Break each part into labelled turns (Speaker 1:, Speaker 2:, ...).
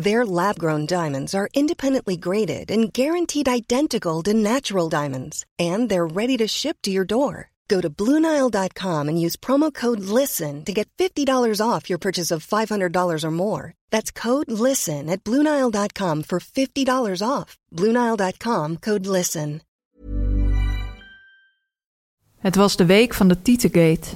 Speaker 1: Their lab grown diamonds are independently graded and guaranteed identical to natural diamonds, and they're ready to ship to your door. Go to BlueNile.com and use promo code LISTEN to get $50 off your purchase of $500 or more. That's code LISTEN at BlueNile.com for $50 off. BlueNile.com code LISTEN.
Speaker 2: Het was de week van de Tietegate.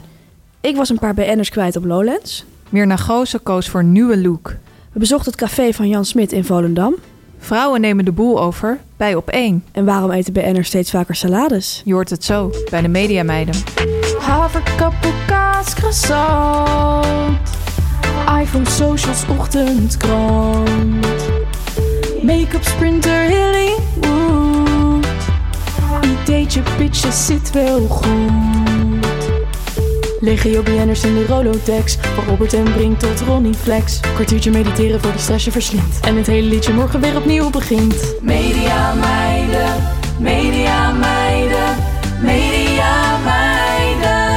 Speaker 3: Ik was een paar BN'ers kwijt op Lowlands.
Speaker 2: Mirna Goossen koos voor een nieuwe look.
Speaker 3: We bezochten het café van Jan Smit in Volendam.
Speaker 2: Vrouwen nemen de boel over bij op één.
Speaker 3: En waarom eten BN'ers steeds vaker salades?
Speaker 2: Je hoort het zo bij de Mediameiden.
Speaker 4: Haverkappel, kaas, croissant. iPhone, socials, ochtendkrant. Make-up, sprinter, Hollywood. Ideetje, pitjes, zit wel goed. Legio BN'ers in de Rolodex. Van Robert en Brink tot Ronnie Flex. Kwartiertje mediteren voor die stress je verslindt. En het hele liedje morgen weer opnieuw begint. Media meiden, media meiden, media meiden.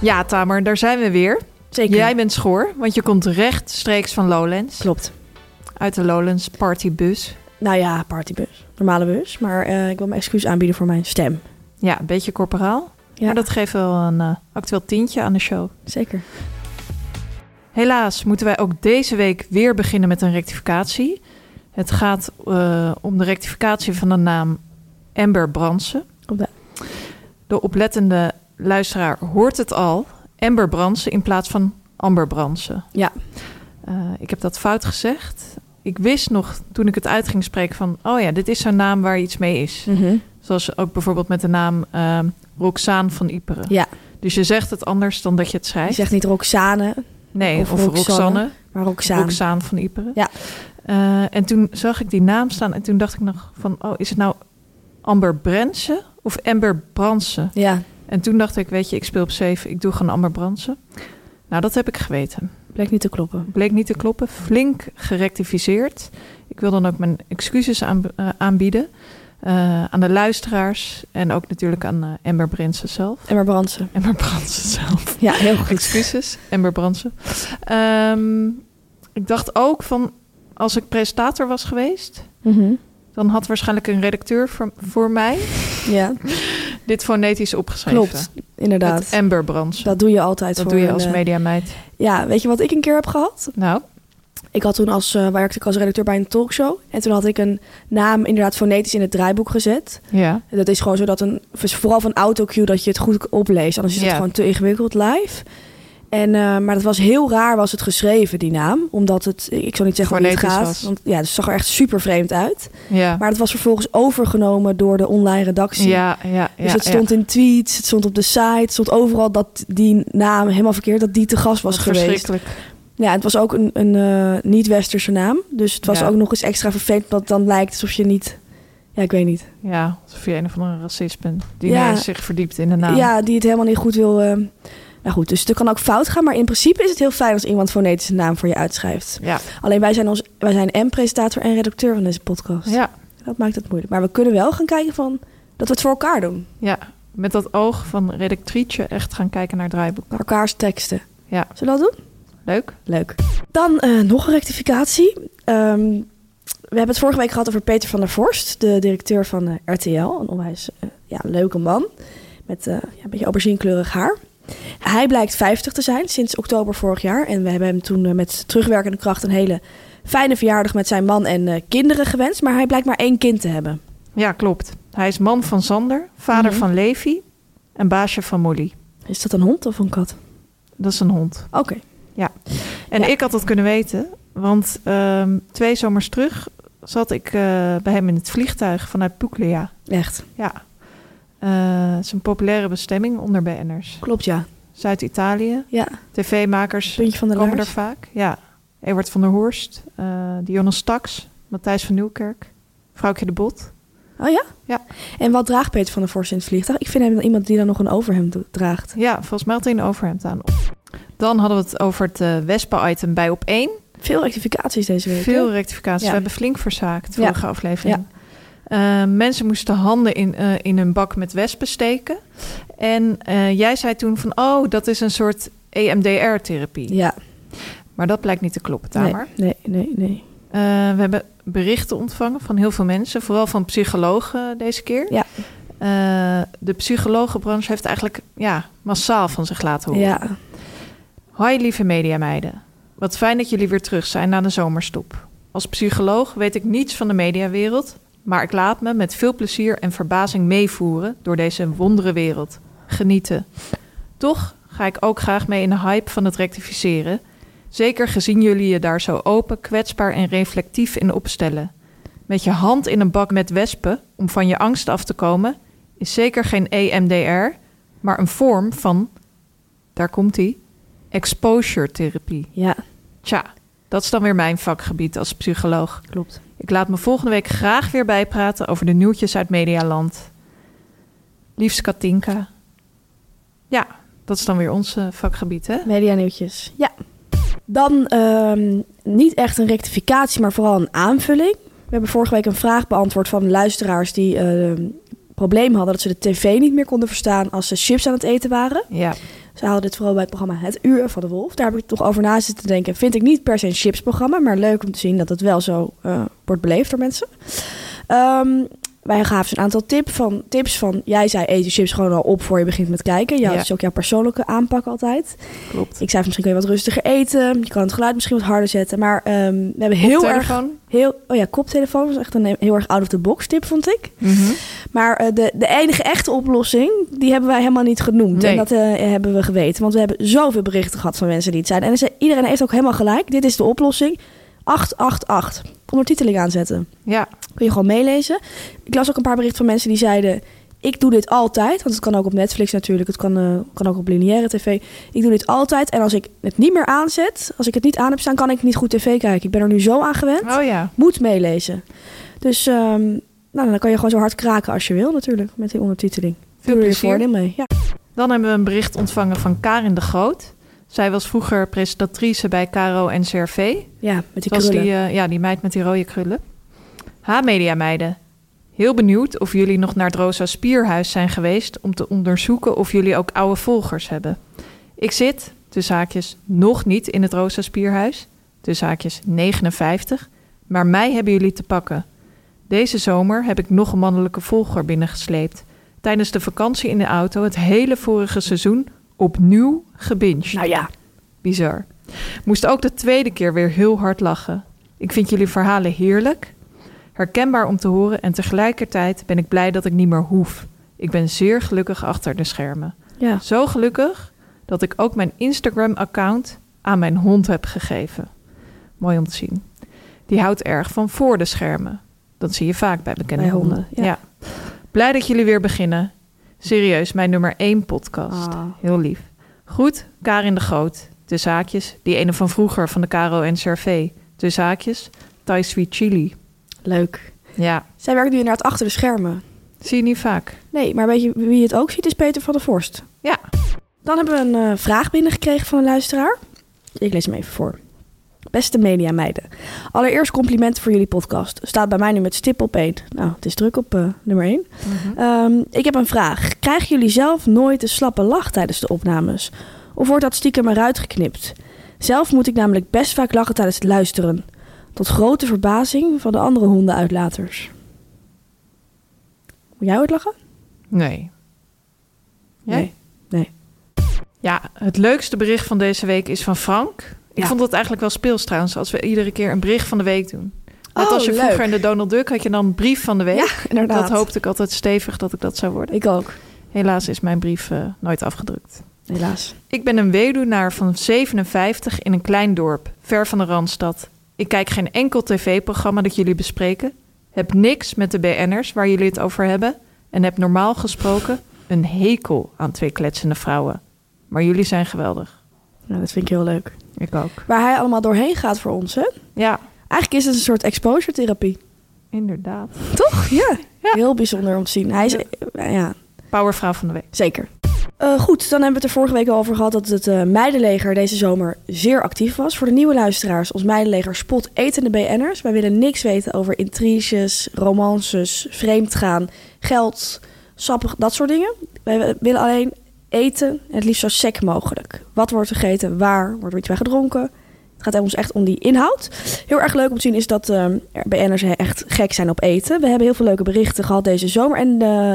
Speaker 2: Ja, Tamer, daar zijn we weer.
Speaker 3: Zeker.
Speaker 2: Jij bent schoor, want je komt rechtstreeks van Lowlands.
Speaker 3: Klopt.
Speaker 2: Uit de Lowlands partybus.
Speaker 3: Nou ja, partybus. Normale bus. Maar eh, ik wil mijn excuus aanbieden voor mijn stem.
Speaker 2: Ja, een beetje corporaal.
Speaker 3: Ja,
Speaker 2: Maar dat geeft wel een eh, actueel tintje aan de show.
Speaker 3: zeker.
Speaker 2: Helaas moeten wij ook deze week weer beginnen met een rectificatie. Het gaat eh, om de rectificatie van de naam Amber Bransen.
Speaker 3: Op de-
Speaker 2: De oplettende luisteraar hoort het al. Amber Bransen in plaats van Amber Bransen.
Speaker 3: Ja.
Speaker 2: Eh, ik heb dat fout gezegd. Ik wist nog toen ik het uit ging spreken van... oh ja, dit is zo'n naam waar iets mee is.
Speaker 3: Mhm.
Speaker 2: Zoals ook bijvoorbeeld met de naam ehm Roxaan van Iperen.
Speaker 3: Ja,
Speaker 2: Dus je zegt het anders dan dat je het
Speaker 3: je
Speaker 2: schrijft.
Speaker 3: zegt niet Roxane,
Speaker 2: nee,
Speaker 3: of
Speaker 2: of,
Speaker 3: Roxanne.
Speaker 2: Roxanne.
Speaker 3: maar Roxane.
Speaker 2: Roxaan van Iperen.
Speaker 3: Ja.
Speaker 2: Eh, en toen zag ik die naam staan en toen dacht ik nog van... oh, is het nou Amber Brensen of Amber Bransen?
Speaker 3: Ja,
Speaker 2: En toen dacht ik, weet je, ik speel op safe, ik doe gewoon Amber Bransen. Nou, dat heb ik geweten.
Speaker 3: bleek niet te kloppen.
Speaker 2: Bleek niet te kloppen, flink gerectificeerd. Ik wil dan ook mijn excuses aan, eh, aanbieden eh, aan de luisteraars en ook natuurlijk aan eh, Amber Bransen zelf.
Speaker 3: En maar Brandsen.
Speaker 2: Amber Bransen zelf.
Speaker 3: Ja, heel goed.
Speaker 2: Excuses, Amber Bransen. Ehm, ik dacht ook van, als ik presentator was geweest,
Speaker 3: Mhm.
Speaker 2: dan had waarschijnlijk een redacteur voor, voor mij
Speaker 3: Ja,
Speaker 2: dit fonetisch opgeschreven.
Speaker 3: klopt. Inderdaad.
Speaker 2: Met Amber Bransen.
Speaker 3: Dat doe je altijd
Speaker 2: Dat
Speaker 3: voor
Speaker 2: doe je
Speaker 3: een,
Speaker 2: als
Speaker 3: eh,
Speaker 2: mediameid.
Speaker 3: Ja, weet je wat ik een keer heb gehad?
Speaker 2: Nou,
Speaker 3: Ik had toen als, eh, werkte ik als redacteur bij een talkshow. En toen had ik een naam inderdaad fonetisch in het draaiboek gezet.
Speaker 2: ja.
Speaker 3: En Dat is gewoon zodat een, dus vooral van autocue, dat je het goed opleest. Anders is het
Speaker 2: Ja.
Speaker 3: gewoon te ingewikkeld live. En, eh, maar dat was heel raar, was het geschreven, die naam. Omdat het, ik zou niet zeggen hoe het
Speaker 2: Fonetisch
Speaker 3: gaat.
Speaker 2: was.
Speaker 3: Want ja, het zag er echt super vreemd uit.
Speaker 2: Ja.
Speaker 3: Maar het was vervolgens overgenomen door de online redactie.
Speaker 2: ja, ja, ja.
Speaker 3: Dus het
Speaker 2: ja.
Speaker 3: stond in tweets, het stond op de site, het stond overal dat die naam helemaal verkeerd, dat die te gast was
Speaker 2: Wat
Speaker 3: geweest.
Speaker 2: Verschrikkelijk.
Speaker 3: Ja, het was ook een, een eh, niet-westerse naam. Dus het was
Speaker 2: Ja.
Speaker 3: ook nog eens extra vervelend, omdat het dan lijkt alsof je niet... Ja, ik weet niet.
Speaker 2: Ja, alsof je een of andere racist bent die
Speaker 3: Ja.
Speaker 2: ineens zich verdiept in de naam.
Speaker 3: Ja, die het helemaal niet goed wil... eh, Nou goed, dus er kan ook fout gaan. Maar in principe is het heel fijn als iemand fonetische naam voor je uitschrijft.
Speaker 2: Ja.
Speaker 3: Alleen wij zijn, ons, wij zijn en presentator en redacteur van deze podcast.
Speaker 2: ja.
Speaker 3: Dat maakt het moeilijk. Maar we kunnen wel gaan kijken van dat we het voor elkaar doen.
Speaker 2: Ja. Met dat oog van redactrice echt gaan kijken naar het draaiboek.
Speaker 3: Naar elkaars teksten.
Speaker 2: Ja.
Speaker 3: Zullen we dat doen?
Speaker 2: Leuk.
Speaker 3: Leuk. Dan eh, nog een rectificatie. Ehm, we hebben het vorige week gehad over Peter van der Vorst, de directeur van eh, RTL. Een onwijs eh, ja, leuke man met eh, ja, een beetje auberginekleurig haar. Hij blijkt 50 te zijn sinds oktober vorig jaar. En we hebben hem toen eh, met terugwerkende kracht een hele fijne verjaardag met zijn man en eh, kinderen gewenst. Maar hij blijkt maar één kind te hebben.
Speaker 2: Ja, klopt. Hij is man van Sander, vader
Speaker 3: Mhm.
Speaker 2: van Levi en baasje van Molly.
Speaker 3: Is dat een hond of een kat?
Speaker 2: Dat is een hond.
Speaker 3: Oké.
Speaker 2: En
Speaker 3: Ja.
Speaker 2: ik had dat kunnen weten, want ehm, twee zomers terug zat ik eh, bij hem in het vliegtuig vanuit Puglia.
Speaker 3: Echt.
Speaker 2: Ja. Eh, het is een populaire bestemming onder BN'ers.
Speaker 3: Klopt, ja.
Speaker 2: Zuid-Italië.
Speaker 3: Ja,
Speaker 2: TV-makers
Speaker 3: puntje van de
Speaker 2: komen er
Speaker 3: laars.
Speaker 2: vaak. Ja. Ewart van der Horst, eh Dionne Staks, Matthijs van Nieuwkerk, Vrouwtje de Bot.
Speaker 3: Oh ja?
Speaker 2: Ja.
Speaker 3: En wat draagt Peter van der Vorst in het vliegtuig? Ik vind hem dan iemand die dan nog een overhemd do- draagt.
Speaker 2: Ja, volgens mij had hij een overhemd aan. Dan hadden we het over het eh, wespen-item bij op één.
Speaker 3: Veel rectificaties deze week. hè?
Speaker 2: Veel rectificaties.
Speaker 3: Ja.
Speaker 2: We hebben flink verzaakt
Speaker 3: Ja.
Speaker 2: vorige aflevering. Eh, mensen moesten handen in, eh, in hun bak met wespen steken. En eh, jij zei toen van, oh, dat is een soort E EMDR-therapie.
Speaker 3: Ja.
Speaker 2: Maar dat blijkt niet te kloppen, Tamer.
Speaker 3: Nee, nee, nee, nee.
Speaker 2: Eh, we hebben berichten ontvangen van heel veel mensen, vooral van psychologen deze keer.
Speaker 3: Ja.
Speaker 2: Eh, de psychologenbranche heeft eigenlijk ja, massaal van zich laten horen.
Speaker 3: Ja.
Speaker 2: Hoi lieve mediameiden. Wat fijn dat jullie weer terug zijn na de zomerstop. Als psycholoog weet ik niets van de mediawereld, maar ik laat me met veel plezier en verbazing meevoeren door deze wonderenwereld. Genieten. Toch ga ik ook graag mee in de hype van het rectificeren, zeker gezien jullie je daar zo open, kwetsbaar en reflectief in opstellen. Met je hand in een bak met wespen om van je angst af te komen is zeker geen E EMDR, maar een vorm van, daar komt ie, exposure therapie.
Speaker 3: Ja,
Speaker 2: Tja, dat is dan weer mijn vakgebied als psycholoog.
Speaker 3: klopt.
Speaker 2: Ik laat me volgende week graag weer bijpraten over de nieuwtjes uit Medialand. Liefst Katinka. Ja, dat is dan weer ons eh, vakgebied, hè?
Speaker 3: Media nieuwtjes. Ja. Dan ehm, niet echt een rectificatie, maar vooral een aanvulling. We hebben vorige week een vraag beantwoord van luisteraars die ehm, het probleem hadden dat ze de tv niet meer konden verstaan als ze chips aan het eten waren.
Speaker 2: Ja,
Speaker 3: Ze haalden dit vooral bij het programma Het Uur van de Wolf. Daar heb ik toch over na zitten denken. Vind ik niet per se een chipsprogramma, maar leuk om te zien dat het wel zo eh, wordt beleefd door mensen. Ehm, wij gaven ze een aantal tip van, tips van, jij zei eet je chips gewoon al op voor je begint met kijken. Ja,
Speaker 2: Ja.
Speaker 3: Dat is ook jouw persoonlijke aanpak altijd.
Speaker 2: klopt.
Speaker 3: Ik zei misschien kun je wat rustiger eten, je kan het geluid misschien wat harder zetten. Maar ehm, we hebben heel erg,
Speaker 2: Telefoon?
Speaker 3: heel, oh ja, koptelefoon was echt een heel erg out of the box tip vond ik. Maar eh, de, de enige echte oplossing, die hebben wij helemaal niet genoemd.
Speaker 2: Nee.
Speaker 3: En dat eh, hebben we geweten. Want we hebben zoveel berichten gehad van mensen die het zijn. En ze- iedereen heeft ook helemaal gelijk. Dit is de oplossing. 888. Ondertiteling aanzetten.
Speaker 2: Ja,
Speaker 3: Kun je gewoon meelezen. Ik las ook een paar berichten van mensen die zeiden... Ik doe dit altijd, want het kan ook op Netflix natuurlijk. Het kan, eh, kan ook op lineaire tv. Ik doe dit altijd. En als ik het niet meer aanzet, als ik het niet aan heb staan... kan ik niet goed tv kijken. Ik ben er nu zo aan gewend.
Speaker 2: oh ja.
Speaker 3: Moet meelezen. Dus ehm, nou, dan kan je gewoon zo hard kraken als je wil natuurlijk. Met die ondertiteling.
Speaker 2: Veel
Speaker 3: Doe er je
Speaker 2: plezier.
Speaker 3: voordeel mee. Ja.
Speaker 2: Dan hebben we een bericht ontvangen van Karin de Groot. Zij was vroeger presentatrice bij Caro en CRV.
Speaker 3: ja, met die
Speaker 2: Zoals
Speaker 3: krullen.
Speaker 2: die, eh, ja, die meid met die rode krullen. Ha, mediameiden. Heel benieuwd of jullie nog naar het Rosa Spierhuis zijn geweest... om te onderzoeken of jullie ook oude volgers hebben. Ik zit, tussen haakjes, nog niet in het Rosa Spierhuis. Tussen haakjes 59. Maar mij hebben jullie te pakken. Deze zomer heb ik nog een mannelijke volger binnengesleept. Tijdens de vakantie in de auto het hele vorige seizoen opnieuw gebinged.
Speaker 3: Nou ja,
Speaker 2: Bizar. Moest ook de tweede keer weer heel hard lachen. Ik vind jullie verhalen heerlijk, herkenbaar om te horen en tegelijkertijd ben ik blij dat ik niet meer hoef. Ik ben zeer gelukkig achter de schermen.
Speaker 3: ja.
Speaker 2: Zo gelukkig dat ik ook mijn Instagram-account aan mijn hond heb gegeven. Mooi om te zien. Die houdt erg van voor de schermen. Dat zie je vaak bij bekende
Speaker 3: Bij
Speaker 2: honden.
Speaker 3: honden, ja.
Speaker 2: Blij dat jullie weer beginnen. Serieus, mijn nummer één podcast.
Speaker 3: Ah.
Speaker 2: Heel lief. Goed, Karin de Groot. De zaakjes, die ene van vroeger van de Caro en Cervé. De zaakjes, Thai Sweet Chili.
Speaker 3: leuk.
Speaker 2: Ja,
Speaker 3: Zij werkt nu inderdaad achter de schermen.
Speaker 2: zie je niet vaak.
Speaker 3: Nee, maar weet je wie het ook ziet is Peter van der Vorst.
Speaker 2: Ja.
Speaker 3: Dan hebben we een eh, vraag binnengekregen van een luisteraar. Ik lees hem even voor. Beste media meiden. Allereerst complimenten voor jullie podcast. Staat bij mij nu met stip op één. Nou, het is druk op eh, nummer 1. ik heb een vraag. Krijgen jullie zelf nooit een slappe lach tijdens de opnames? Of wordt dat stiekem eruit geknipt? Zelf moet ik namelijk best vaak lachen tijdens het luisteren. Tot grote verbazing van de andere hondenuitlaters. Moet jij ooit lachen?
Speaker 2: Nee. Jij?
Speaker 3: Nee. Nee.
Speaker 2: Ja, het leukste bericht van deze week is van Frank. Ik
Speaker 3: Ja.
Speaker 2: vond het eigenlijk wel speels trouwens, als we iedere keer een bericht van de week doen. Net
Speaker 3: Oh,
Speaker 2: als je
Speaker 3: leuk.
Speaker 2: vroeger in de Donald Duck had je dan een brief van de week.
Speaker 3: Ja, inderdaad.
Speaker 2: dat hoopte ik altijd stevig dat ik dat zou worden.
Speaker 3: Ik ook,
Speaker 2: Helaas is mijn brief eh, nooit afgedrukt.
Speaker 3: helaas.
Speaker 2: Ik ben een weduwnaar van 57 in een klein dorp, ver van de Randstad. Ik kijk geen enkel tv-programma dat jullie bespreken. Heb niks met de BN'ers waar jullie het over hebben. En heb normaal gesproken een hekel aan twee kletsende vrouwen. Maar jullie zijn geweldig.
Speaker 3: Nou, dat vind ik heel leuk.
Speaker 2: Ik ook.
Speaker 3: Waar hij allemaal doorheen gaat voor ons, hè?
Speaker 2: Ja,
Speaker 3: Eigenlijk is het een soort exposure therapie.
Speaker 2: Inderdaad.
Speaker 3: Toch? Ja. Heel bijzonder om te zien. Hij is, eh, ja,
Speaker 2: Powervrouw van de week.
Speaker 3: zeker. Eh, goed, dan hebben we het er vorige week al over gehad dat het eh, meidenleger deze zomer zeer actief was. Voor de nieuwe luisteraars, ons meidenleger spot etende BN'ers. Wij willen niks weten over intriges, romances, vreemdgaan, geld, sappig, dat soort dingen. Wij willen alleen eten en het liefst zo sec mogelijk. Wat wordt er gegeten, waar wordt er iets bij gedronken, Het gaat ons echt om die inhoud. Heel erg leuk om te zien is dat ehm, er BN'ers echt gek zijn op eten. We hebben heel veel leuke berichten gehad deze zomer. En eh,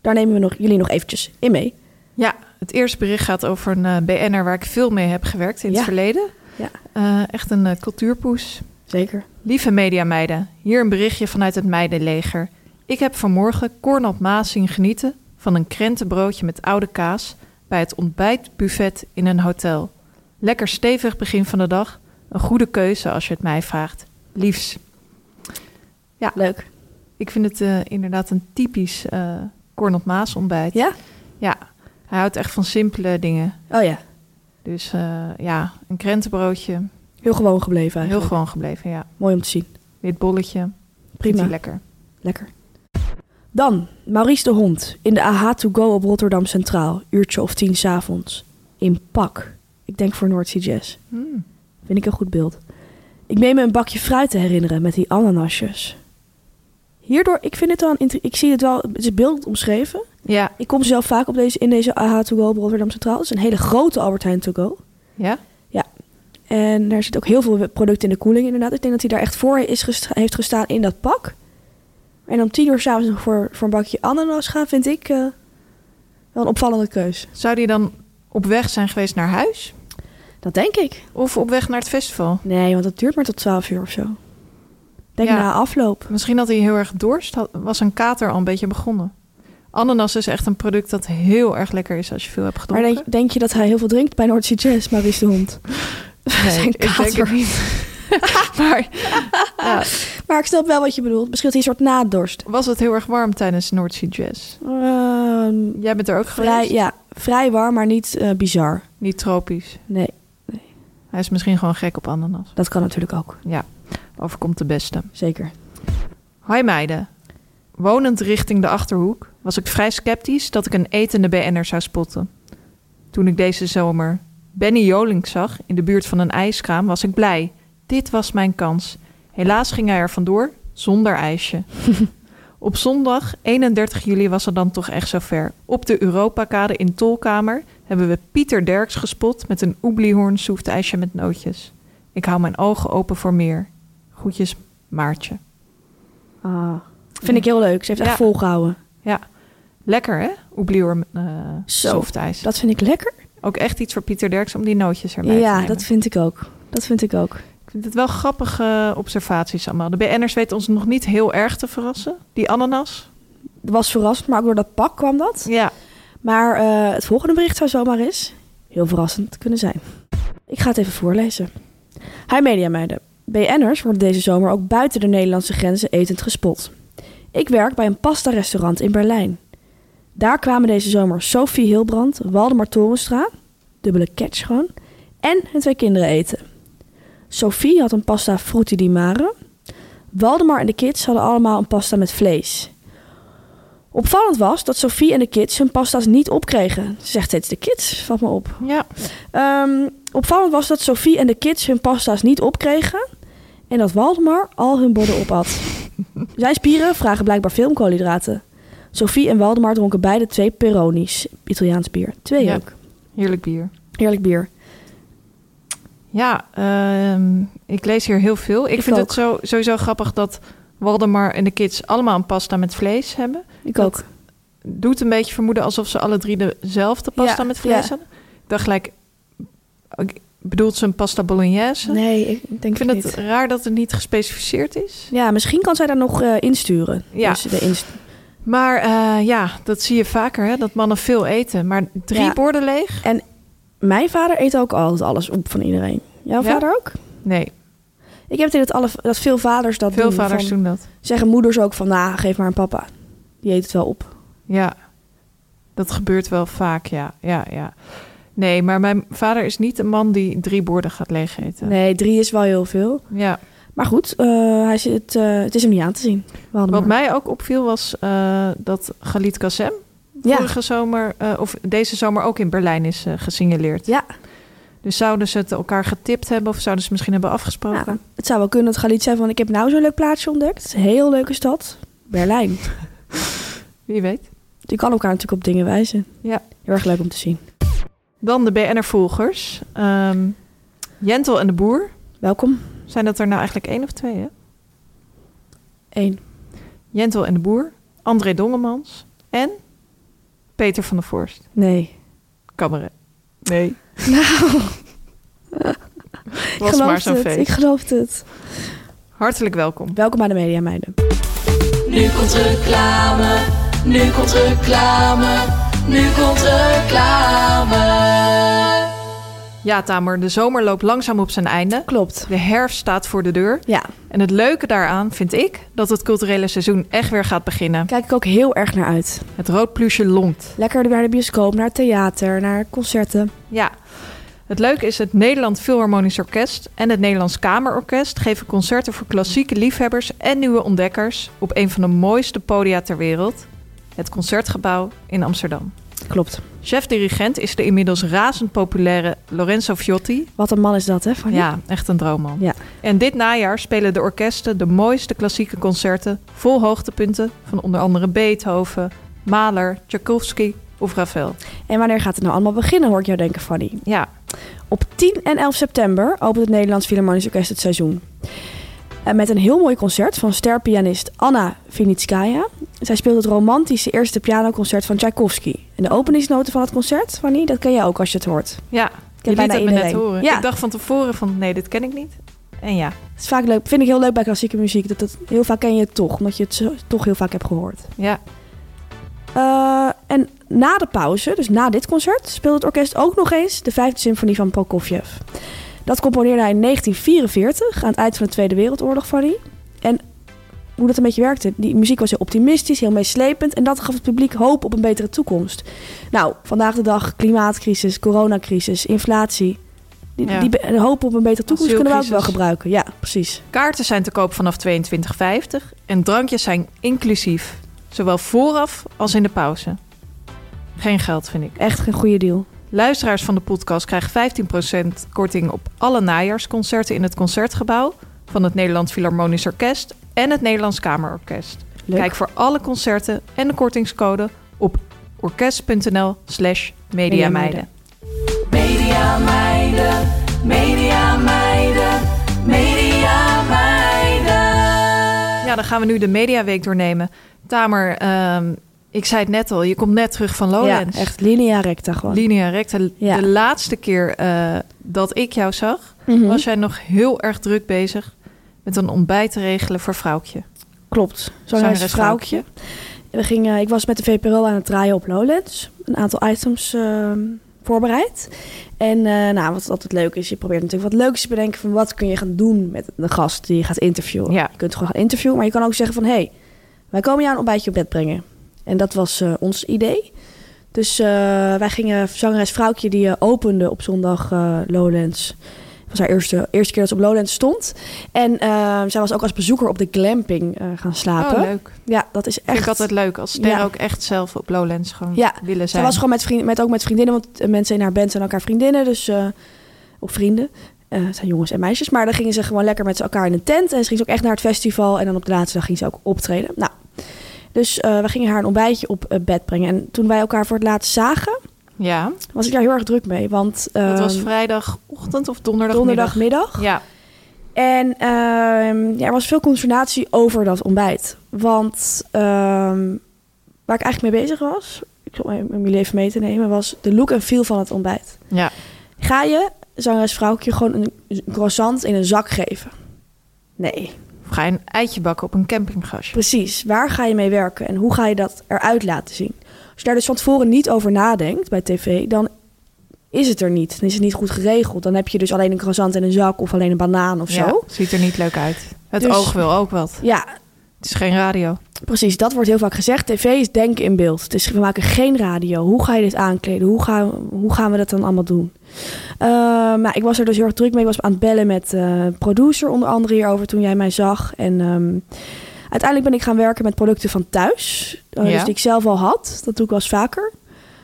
Speaker 3: daar nemen we nog, jullie nog eventjes in mee.
Speaker 2: Ja, het eerste bericht gaat over een eh, BN'er waar ik veel mee heb gewerkt in
Speaker 3: Ja.
Speaker 2: het verleden.
Speaker 3: Ja.
Speaker 2: Eh, echt een eh, cultuurpoes.
Speaker 3: Zeker.
Speaker 2: Lieve mediameiden, hier een berichtje vanuit het meidenleger. Ik heb vanmorgen Cornel Maas zien genieten van een krentenbroodje met oude kaas bij het ontbijtbuffet in een hotel. Lekker stevig begin van de dag. Een goede keuze als je het mij vraagt. Liefs.
Speaker 3: Ah, Leuk.
Speaker 2: Ik vind het eh, inderdaad een typisch eh Cornel Maas ontbijt.
Speaker 3: Ja?
Speaker 2: Ja, hij houdt echt van simpele dingen.
Speaker 3: Oh ja.
Speaker 2: Dus eh, ja, een krentenbroodje.
Speaker 3: Heel gewoon
Speaker 2: Heel
Speaker 3: gebleven eigenlijk.
Speaker 2: gewoon gebleven, ja.
Speaker 3: Mooi om te zien.
Speaker 2: Wit bolletje. Vindt hij
Speaker 3: Prima.
Speaker 2: lekker.
Speaker 3: Lekker. Dan, Maurice de Hond. In de AH to go op Rotterdam Centraal. Uurtje of tien s'avonds. In pak. Ik denk voor North Sea Jazz.
Speaker 2: Mm.
Speaker 3: Vind ik een goed beeld. Ik meen me een bakje fruit te herinneren met die ananasjes. Hierdoor, ik vind het wel, een inter- ik zie het wel, het is beeld omschreven.
Speaker 2: Ja,
Speaker 3: Ik kom zelf vaak op deze, in deze AH to go op Rotterdam Centraal. Het is een hele grote Albert Heijn to go.
Speaker 2: ja.
Speaker 3: En daar zit ook heel veel producten in de koeling inderdaad. Ik denk dat hij daar echt voor is gest- heeft gestaan in dat pak. En om tien uur s'avonds nog voor, voor een bakje ananas gaan, vind ik eh, wel een opvallende keus.
Speaker 2: Zou die dan op weg zijn geweest naar huis?
Speaker 3: Dat denk ik.
Speaker 2: Of op weg naar het festival?
Speaker 3: Nee, want dat duurt maar tot twaalf uur of zo. Ik Denk
Speaker 2: Ja.
Speaker 3: na afloop.
Speaker 2: Misschien had hij heel erg dorst. had- was een kater al een beetje begonnen. Ananas is echt een product dat heel erg lekker is als je veel hebt
Speaker 3: Maar
Speaker 2: gedronken.
Speaker 3: denk, denk je dat hij heel veel drinkt bij North Sea Jazz, Maurice de Hond?
Speaker 2: Nee,
Speaker 3: zijn
Speaker 2: ik denk het
Speaker 3: kater.
Speaker 2: niet. maar
Speaker 3: Maar ik snap wel wat je bedoelt. Misschien had hij een soort nadorst.
Speaker 2: was het heel erg warm tijdens North Sea Jazz?
Speaker 3: Ehm,
Speaker 2: Jij bent er ook
Speaker 3: vrij,
Speaker 2: geweest?
Speaker 3: ja, vrij warm, maar niet eh, bizar.
Speaker 2: Niet tropisch.
Speaker 3: Nee,
Speaker 2: Hij is misschien gewoon gek op ananas.
Speaker 3: dat kan natuurlijk ook.
Speaker 2: Ja, overkomt de beste.
Speaker 3: Zeker.
Speaker 2: Hoi meiden. Wonend richting de Achterhoek was ik vrij sceptisch dat ik een etende BN'er zou spotten. Toen ik deze zomer Benny Jolink zag in de buurt van een ijskraam was ik blij. Dit was mijn kans. Helaas ging hij er vandoor zonder ijsje. Op zondag 31 juli was het dan toch echt zover. Op de Europakade in Tolkamer hebben we Pieter Derks gespot met een oebliehorn soeftijsje met nootjes. Ik hou mijn ogen open voor meer. Groetjes Maartje.
Speaker 3: Ah, vind ik heel leuk. Ze heeft echt
Speaker 2: Ja.
Speaker 3: volgehouden.
Speaker 2: Ja, lekker hè? Oeblior eh
Speaker 3: Zo,
Speaker 2: softijs.
Speaker 3: Dat vind ik lekker.
Speaker 2: Ook echt iets voor Pieter Derks om die nootjes erbij te
Speaker 3: ja,
Speaker 2: nemen.
Speaker 3: dat vind ik ook. Dat vind ik ook.
Speaker 2: Ik vind het wel grappige observaties allemaal. De BN'ers weten ons nog niet heel erg te verrassen. Die ananas.
Speaker 3: Was verrassend, maar ook door dat pak kwam dat.
Speaker 2: Ja.
Speaker 3: Maar eh, het volgende bericht zou zomaar eens heel verrassend kunnen zijn. Ik ga het even voorlezen. Hi mediameiden. BN'ers worden deze zomer ook buiten de Nederlandse grenzen etend gespot. Ik werk bij een pasta-restaurant in Berlijn. Daar kwamen deze zomer Sophie Hilbrand, Waldemar Torenstra, dubbele catch gewoon, en hun twee kinderen eten. Sophie had een pasta frutti di mare. Waldemar en de kids hadden allemaal een pasta met vlees. Opvallend was dat Sophie en de kids hun pasta's niet opkregen. Ze zegt steeds de kids, valt me op.
Speaker 2: Ja.
Speaker 3: Ehm, opvallend was dat Sophie en de kids hun pasta's niet opkregen. En dat Waldemar al hun borden opat. Zijn spieren vragen blijkbaar veel om koolhydraten. Sophie en Waldemar dronken beide twee Peroni's. Italiaans bier. Twee
Speaker 2: Ja.
Speaker 3: ook.
Speaker 2: Heerlijk bier.
Speaker 3: Heerlijk bier.
Speaker 2: Ja, ehm, ik lees hier heel veel. Ik,
Speaker 3: Ik
Speaker 2: vind
Speaker 3: ook.
Speaker 2: het zo, sowieso grappig dat Waldemar en de kids allemaal een pasta met vlees hebben.
Speaker 3: Ik
Speaker 2: Dat
Speaker 3: ook.
Speaker 2: doet een beetje vermoeden alsof ze alle drie dezelfde pasta
Speaker 3: Ja,
Speaker 2: met vlees
Speaker 3: ja.
Speaker 2: hadden. Ik dacht gelijk, ik- bedoelt ze een pasta bolognese?
Speaker 3: Nee, ik denk
Speaker 2: Ik vind het raar dat het niet gespecificeerd is.
Speaker 3: Ja, misschien kan zij daar nog eh, insturen.
Speaker 2: Ja.
Speaker 3: Dus de inst-
Speaker 2: Maar eh, ja, dat zie je vaker, hè? dat mannen veel eten. Maar drie
Speaker 3: Ja.
Speaker 2: borden leeg?
Speaker 3: Mijn vader eet ook altijd alles op van iedereen. Jouw
Speaker 2: Ja?
Speaker 3: vader ook?
Speaker 2: Nee,
Speaker 3: Ik heb het idee dat, alle, dat veel vaders dat
Speaker 2: veel
Speaker 3: doen.
Speaker 2: vaders
Speaker 3: van-
Speaker 2: doen dat.
Speaker 3: Zeggen moeders ook van, nou, geef maar aan papa. Die eet het wel op.
Speaker 2: Ja, dat gebeurt wel vaak, ja. ja, ja. Nee, maar mijn vader is niet een man die drie borden gaat leeg eten.
Speaker 3: Nee, drie is wel heel veel.
Speaker 2: Ja,
Speaker 3: Maar goed, eh, hij zit, eh, het is hem niet aan te zien. We hadden
Speaker 2: Wat
Speaker 3: maar-
Speaker 2: mij ook opviel was eh, dat Galit Kassem
Speaker 3: ja.
Speaker 2: vorige zomer, eh, of deze zomer ook in Berlijn is eh, gesignaleerd.
Speaker 3: Ja.
Speaker 2: Dus zouden ze het elkaar getipt hebben of zouden ze misschien hebben afgesproken?
Speaker 3: ja, het zou wel kunnen dat Galit zei van... ik heb nou zo'n leuk plaatsje ontdekt. Het is een heel leuke stad. Berlijn.
Speaker 2: Wie weet.
Speaker 3: Die kan elkaar natuurlijk op dingen wijzen.
Speaker 2: Ja.
Speaker 3: Heel erg leuk om te zien.
Speaker 2: Dan de BNR-volgers. Ehm, Jentel en de Boer.
Speaker 3: Welkom.
Speaker 2: Zijn dat er nou eigenlijk één of twee? Hè?
Speaker 3: Eén.
Speaker 2: Jentel en de Boer, André Dongemans en Peter van der Vorst.
Speaker 3: Nee.
Speaker 2: Cabaret. Nee.
Speaker 3: Nou, ik
Speaker 2: Was maar
Speaker 3: geloof
Speaker 2: zo'n
Speaker 3: het.
Speaker 2: feest.
Speaker 3: Ik geloof het.
Speaker 2: Hartelijk welkom.
Speaker 3: Welkom bij de Media Meiden.
Speaker 4: Nu komt reclame, nu komt reclame, nu komt reclame.
Speaker 2: Ja, Tamer, de zomer loopt langzaam op zijn einde.
Speaker 3: Klopt.
Speaker 2: De herfst staat voor de deur.
Speaker 3: Ja,
Speaker 2: En het leuke daaraan vind ik dat het culturele seizoen echt weer gaat beginnen.
Speaker 3: kijk ik ook heel erg naar uit.
Speaker 2: Het rood plusje longt.
Speaker 3: Lekker naar de bioscoop, naar het theater, naar concerten.
Speaker 2: Ja. Het leuke is het Nederland Philharmonisch Orkest en het Nederlands Kamerorkest geven concerten voor klassieke liefhebbers en nieuwe ontdekkers op een van de mooiste podia ter wereld, het Concertgebouw in Amsterdam.
Speaker 3: Klopt.
Speaker 2: Chef-dirigent is de inmiddels razend populaire Lorenzo Fiotti.
Speaker 3: Wat een man is dat, hè? Van
Speaker 2: Ja, echt een droomman.
Speaker 3: Oh, Ja.
Speaker 2: En dit najaar spelen de orkesten de mooiste klassieke concerten vol hoogtepunten van onder andere Beethoven, Mahler, Tchaikovsky of Ravel.
Speaker 3: En wanneer gaat het nou allemaal beginnen, hoor ik jou denken, Fanny.
Speaker 2: Ja,
Speaker 3: Op 10 en 11 september opent het Nederlands Philharmonisch Orkest het seizoen. En met een heel mooi concert van sterpianist Anna Vinitskaya. Zij speelt het romantische eerste pianoconcert van Tchaikovsky. En de openingsnoten van het concert, Fanny, dat ken jij ook als je het hoort.
Speaker 2: ja.
Speaker 3: ken
Speaker 2: Je liet
Speaker 3: bijna
Speaker 2: het me net
Speaker 3: iedereen.
Speaker 2: horen.
Speaker 3: Ja.
Speaker 2: Ik dacht van tevoren van nee, dit ken ik niet. En ja,
Speaker 3: Het is vaak leuk, vind ik heel leuk bij klassieke muziek. Dat, dat, heel vaak ken je het toch, omdat je het zo- toch heel vaak hebt gehoord.
Speaker 2: ja.
Speaker 3: Eh, en na de pauze, dus na dit concert, speelde het orkest ook nog eens de vijfde symfonie van Prokofjev. Dat componeerde hij in 1944, aan het eind van de Tweede Wereldoorlog, Fanny. En hoe dat een beetje werkte, die muziek was heel optimistisch, heel meeslepend en dat gaf het publiek hoop op een betere toekomst. Nou, vandaag de dag klimaatcrisis, coronacrisis, inflatie. Die,
Speaker 2: Ja.
Speaker 3: die be- de hoop op een betere toekomst kunnen we ook wel
Speaker 2: Asielcrisis.
Speaker 3: gebruiken. Ja, precies.
Speaker 2: Kaarten zijn te koop vanaf 22,50 en drankjes zijn inclusief, zowel vooraf als in de pauze. Geen geld vind ik.
Speaker 3: Echt een goede deal.
Speaker 2: Luisteraars van de podcast krijgen 15% korting op alle najaarsconcerten in het Concertgebouw van het Nederlands Philharmonisch Orkest en het Nederlands Kamerorkest.
Speaker 3: Leuk.
Speaker 2: Kijk voor alle concerten en de kortingscode op orkest.nl/slash mediameiden.
Speaker 4: Media meiden, media meiden, media meiden.
Speaker 2: Ja, dan gaan we nu de Mediaweek doornemen. Tamer, ehm, ik zei het net al, je komt net terug van Lowlands.
Speaker 3: Ja, echt linea recta gewoon.
Speaker 2: Linea recta.
Speaker 3: Ja.
Speaker 2: De laatste keer eh, dat ik jou zag,
Speaker 3: Mhm.
Speaker 2: was jij nog heel erg druk bezig met een ontbijt te regelen voor vrouwtje.
Speaker 3: Klopt. Zo'n
Speaker 2: Zangeres
Speaker 3: huis vrouwtje. We gingen, ik was met de VPRO aan het draaien op Lowlands. Een aantal items ehm, voorbereid. En eh, nou, wat altijd leuk is, je probeert natuurlijk wat leuks te bedenken van wat kun je gaan doen met de gast die je gaat interviewen.
Speaker 2: Ja.
Speaker 3: Je kunt gewoon gaan interviewen, maar je kan ook zeggen van hé, hey, wij komen jou een ontbijtje op bed brengen. En dat was eh, ons idee. Dus eh, wij gingen zangeres Vrouwtje, die eh, opende op zondag eh, Lowlands. Het was haar eerste, eerste keer dat ze op Lowlands stond. En eh, zij was ook als bezoeker op de glamping eh, gaan slapen.
Speaker 2: Oh, leuk.
Speaker 3: Ja, dat is
Speaker 2: Vind
Speaker 3: echt.
Speaker 2: ik altijd leuk als sterren
Speaker 3: Ja.
Speaker 2: ook echt zelf op Lowlands gewoon
Speaker 3: Ja,
Speaker 2: willen
Speaker 3: Zij
Speaker 2: zijn.
Speaker 3: was gewoon met, vriend, met, ook met vriendinnen, want eh, mensen in haar band zijn elkaar vriendinnen, dus eh, of vrienden. Eh, het zijn jongens en meisjes, maar dan gingen ze gewoon lekker met z'n elkaar in een tent. En ze ging ze ook echt naar het festival. En dan op de laatste dag ging ze ook optreden. Nou, dus eh, we gingen haar een ontbijtje op eh, bed brengen. En toen wij elkaar voor het laatst zagen,
Speaker 2: Ja,
Speaker 3: was ik daar heel erg druk mee. Want
Speaker 2: dat was
Speaker 3: ehm,
Speaker 2: vrijdagochtend of donderdag.
Speaker 3: donderdagmiddag.
Speaker 2: Ja,
Speaker 3: En ehm, ja, er was veel consternatie over dat ontbijt. Want ehm, waar ik eigenlijk mee bezig was, ik zal hem om jullie even mee te nemen, was de look en feel van het ontbijt.
Speaker 2: ja.
Speaker 3: Ga je, zangeres vrouwtje, gewoon een een croissant in een zak geven? Nee,
Speaker 2: Of ga je een eitje bakken op een campinggasje?
Speaker 3: precies. Waar ga je mee werken en hoe ga je dat eruit laten zien? Als je daar dus van tevoren niet over nadenkt bij tv, dan is het er niet. Dan is het niet goed geregeld. Dan heb je dus alleen een croissant in een zak of alleen een banaan of zo.
Speaker 2: Ja, ziet er niet leuk uit. Het
Speaker 3: Dus-
Speaker 2: oog wil ook wat.
Speaker 3: Ja,
Speaker 2: Het Het is geen radio.
Speaker 3: Precies, dat wordt heel vaak gezegd. TV is denken in beeld. Het is, we maken geen radio. Hoe ga je dit aankleden? Hoe gaan, hoe gaan we dat dan allemaal doen? Eh, maar ik was er dus heel erg druk mee. Ik was aan het bellen met eh, een producer onder andere hierover toen jij mij zag. En ehm, uiteindelijk ben ik gaan werken met producten van thuis. Eh,
Speaker 2: Ja.
Speaker 3: Dus die ik zelf al had. Dat doe ik wel eens vaker.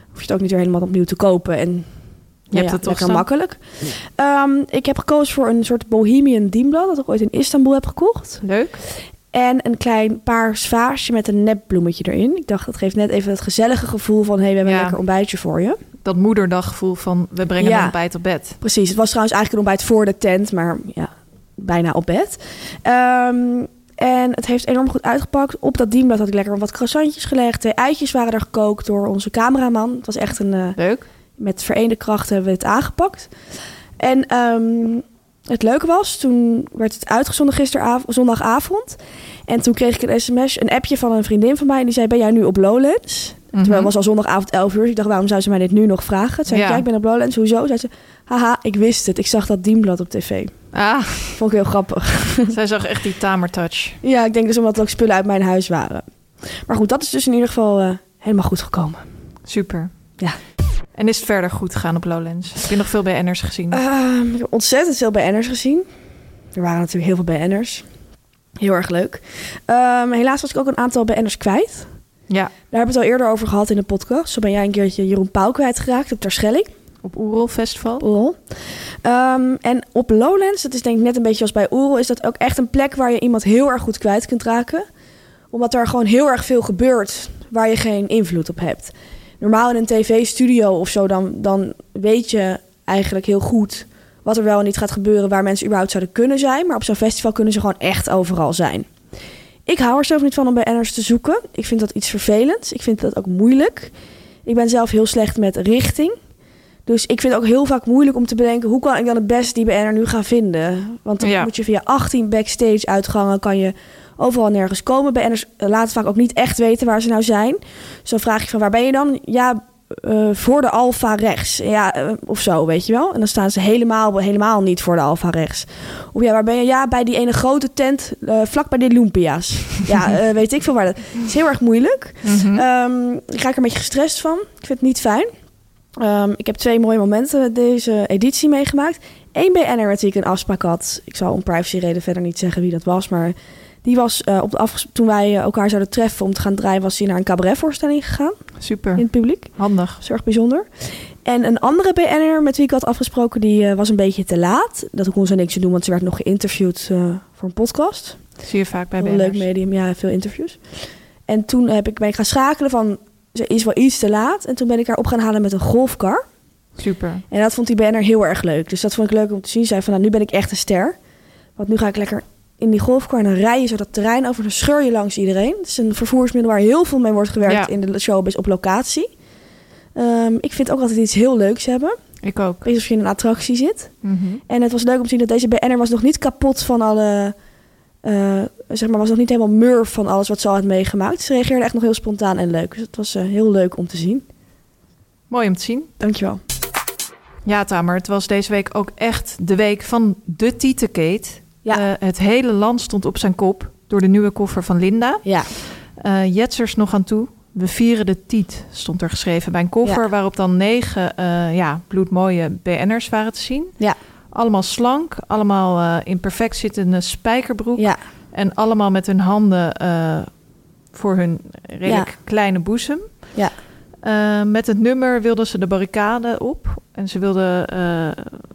Speaker 3: Hoef je het ook niet weer helemaal opnieuw te kopen. En nou
Speaker 2: Je hebt
Speaker 3: ja,
Speaker 2: het toch
Speaker 3: lekker
Speaker 2: staan?
Speaker 3: makkelijk. Ehm, ik heb gekozen voor een soort bohemian dienblad dat ik ooit in Istanbul heb gekocht.
Speaker 2: Leuk.
Speaker 3: En een klein paars vaasje met een nepbloemetje erin. Ik dacht, dat geeft net even het gezellige gevoel van... hé, hey, we hebben
Speaker 2: Ja.
Speaker 3: een lekker ontbijtje voor je.
Speaker 2: Dat moederdaggevoel van we brengen
Speaker 3: Ja.
Speaker 2: een ontbijt op bed.
Speaker 3: Precies, het was trouwens eigenlijk een ontbijt voor de tent, maar ja, bijna op bed. Ehm, en het heeft enorm goed uitgepakt. Op dat dienblad had ik lekker wat croissantjes gelegd. Twee eitjes waren er gekookt door onze cameraman. Het was echt een... eh,
Speaker 2: Leuk.
Speaker 3: met vereende krachten hebben we het aangepakt. En ehm, het leuke was, toen werd het uitgezonden gisteravond, zondagavond. En toen kreeg ik een sms, een appje van een vriendin van mij. En die zei, ben jij nu op Lowlands?
Speaker 2: Mhm.
Speaker 3: Terwijl het was al zondagavond 11 uur. Dus ik dacht, waarom zou ze mij dit nu nog vragen? Toen zei ik,
Speaker 2: Ja.
Speaker 3: ja, ik ben op Lowlands. Hoezo? Zei ze, haha, ik wist het. Ik zag dat dienblad op tv.
Speaker 2: Ah,
Speaker 3: Vond ik heel grappig.
Speaker 2: zij zag echt die tamertouch.
Speaker 3: Ja, ik denk dus omdat het ook spullen uit mijn huis waren. Maar goed, dat is dus in ieder geval eh, helemaal goed gekomen.
Speaker 2: Super.
Speaker 3: Ja.
Speaker 2: En is het verder goed gegaan op Lowlands? Heb je nog veel BN'ers gezien?
Speaker 3: Ehm, ik heb ontzettend veel BN'ers gezien. Er waren natuurlijk heel veel BN'ers. Heel erg leuk. Ehm, helaas was ik ook een aantal BN'ers kwijt.
Speaker 2: ja,
Speaker 3: Daar hebben we het al eerder over gehad in de podcast. Zo ben jij een keertje Jeroen Pauw kwijtgeraakt op Terschelling.
Speaker 2: op Oerol Festival.
Speaker 3: op Oerol. Ehm, en op Lowlands, dat is denk ik net een beetje als bij Oerol... is dat ook echt een plek waar je iemand heel erg goed kwijt kunt raken. Omdat er gewoon heel erg veel gebeurt waar je geen invloed op hebt. Normaal in een tv-studio of zo, dan, dan weet je eigenlijk heel goed... wat er wel en niet gaat gebeuren, waar mensen überhaupt zouden kunnen zijn. Maar op zo'n festival kunnen ze gewoon echt overal zijn. Ik hou er zelf niet van om bij BN'ers te zoeken. Ik vind dat iets vervelends. Ik vind dat ook moeilijk. Ik ben zelf heel slecht met richting. Dus ik vind het ook heel vaak moeilijk om te bedenken... hoe kan ik dan het beste die BN'er nu gaan vinden? Want dan
Speaker 2: Ja.
Speaker 3: moet je via 18 backstage-uitgangen... kan je overal nergens komen. BN'ers eh, laten vaak ook niet echt weten waar ze nou zijn. Dus dan vraag je van, waar ben je dan? Ja, eh, voor de alfa rechts. Ja, eh, of zo, weet je wel. En dan staan ze helemaal, helemaal niet voor de alfa rechts. Of ja, waar ben je? Ja, bij die ene grote tent, eh, vlak bij de Lumpia's. ja, eh, weet ik veel waar dat... Het is heel erg moeilijk.
Speaker 2: Mhm.
Speaker 3: Ehm, ik ga er een beetje gestrest van. Ik vind het niet fijn. Ehm, ik heb twee mooie momenten deze editie meegemaakt. Eén BN'er met wie ik een afspraak had. Ik zal om privacyreden verder niet zeggen wie dat was. Maar die was eh, op de afges- toen wij eh, elkaar zouden treffen om te gaan draaien... was hij naar een cabaretvoorstelling gegaan
Speaker 2: Super.
Speaker 3: in het publiek.
Speaker 2: Handig.
Speaker 3: Dat is erg bijzonder. En een andere BN'er met wie ik had afgesproken, die eh, was een beetje te laat. Dat kon ze niks aan doen, want ze werd nog geïnterviewd eh, voor een podcast.
Speaker 2: Zie je vaak bij
Speaker 3: Een
Speaker 2: BN'ers.
Speaker 3: leuk medium, ja, veel interviews. En toen heb ik, ben ik gaan schakelen van, ze is wel iets te laat. En toen ben ik haar op gaan halen met een golfkar.
Speaker 2: Super.
Speaker 3: En dat vond die BN'er heel erg leuk. Dus dat vond ik leuk om te zien. Ze Zei van, nou, nu ben ik echt een ster. Want nu ga ik lekker in die golfkar en dan rij je zo dat terrein over. Dan scheur je langs iedereen. Het is een vervoersmiddel waar heel veel mee wordt gewerkt
Speaker 2: Ja.
Speaker 3: in de showbiz op locatie. Ehm, ik vind ook altijd iets heel leuks hebben.
Speaker 2: Ik ook.
Speaker 3: Ik weet niet of je in een attractie zit.
Speaker 2: Mhm.
Speaker 3: En het was leuk om te zien dat deze BN'er was nog niet kapot van alle... eh, zeg maar, was nog niet helemaal murf van alles wat ze al had meegemaakt. Ze reageerde echt nog heel spontaan en leuk. Dus het was eh, heel leuk om te zien.
Speaker 2: Mooi om te zien.
Speaker 3: Dankjewel.
Speaker 2: Ja, Tamer, het was deze week ook echt de week van de Tietenkeet.
Speaker 3: Ja.
Speaker 2: Eh, het hele land stond op zijn kop door de nieuwe koffer van Linda.
Speaker 3: Ja,
Speaker 2: Eh, Jetsers nog aan toe. We vieren de Tiet, stond er geschreven bij een koffer...
Speaker 3: Ja.
Speaker 2: waarop dan negen eh, ja, bloedmooie BN'ers waren te zien.
Speaker 3: Ja.
Speaker 2: Allemaal slank, allemaal eh, in perfect zittende spijkerbroek...
Speaker 3: ja,
Speaker 2: en allemaal met hun handen eh, voor hun redelijk kleine boezem.
Speaker 3: ja.
Speaker 2: Eh, met het nummer wilden ze de barricade op. En ze wilden eh,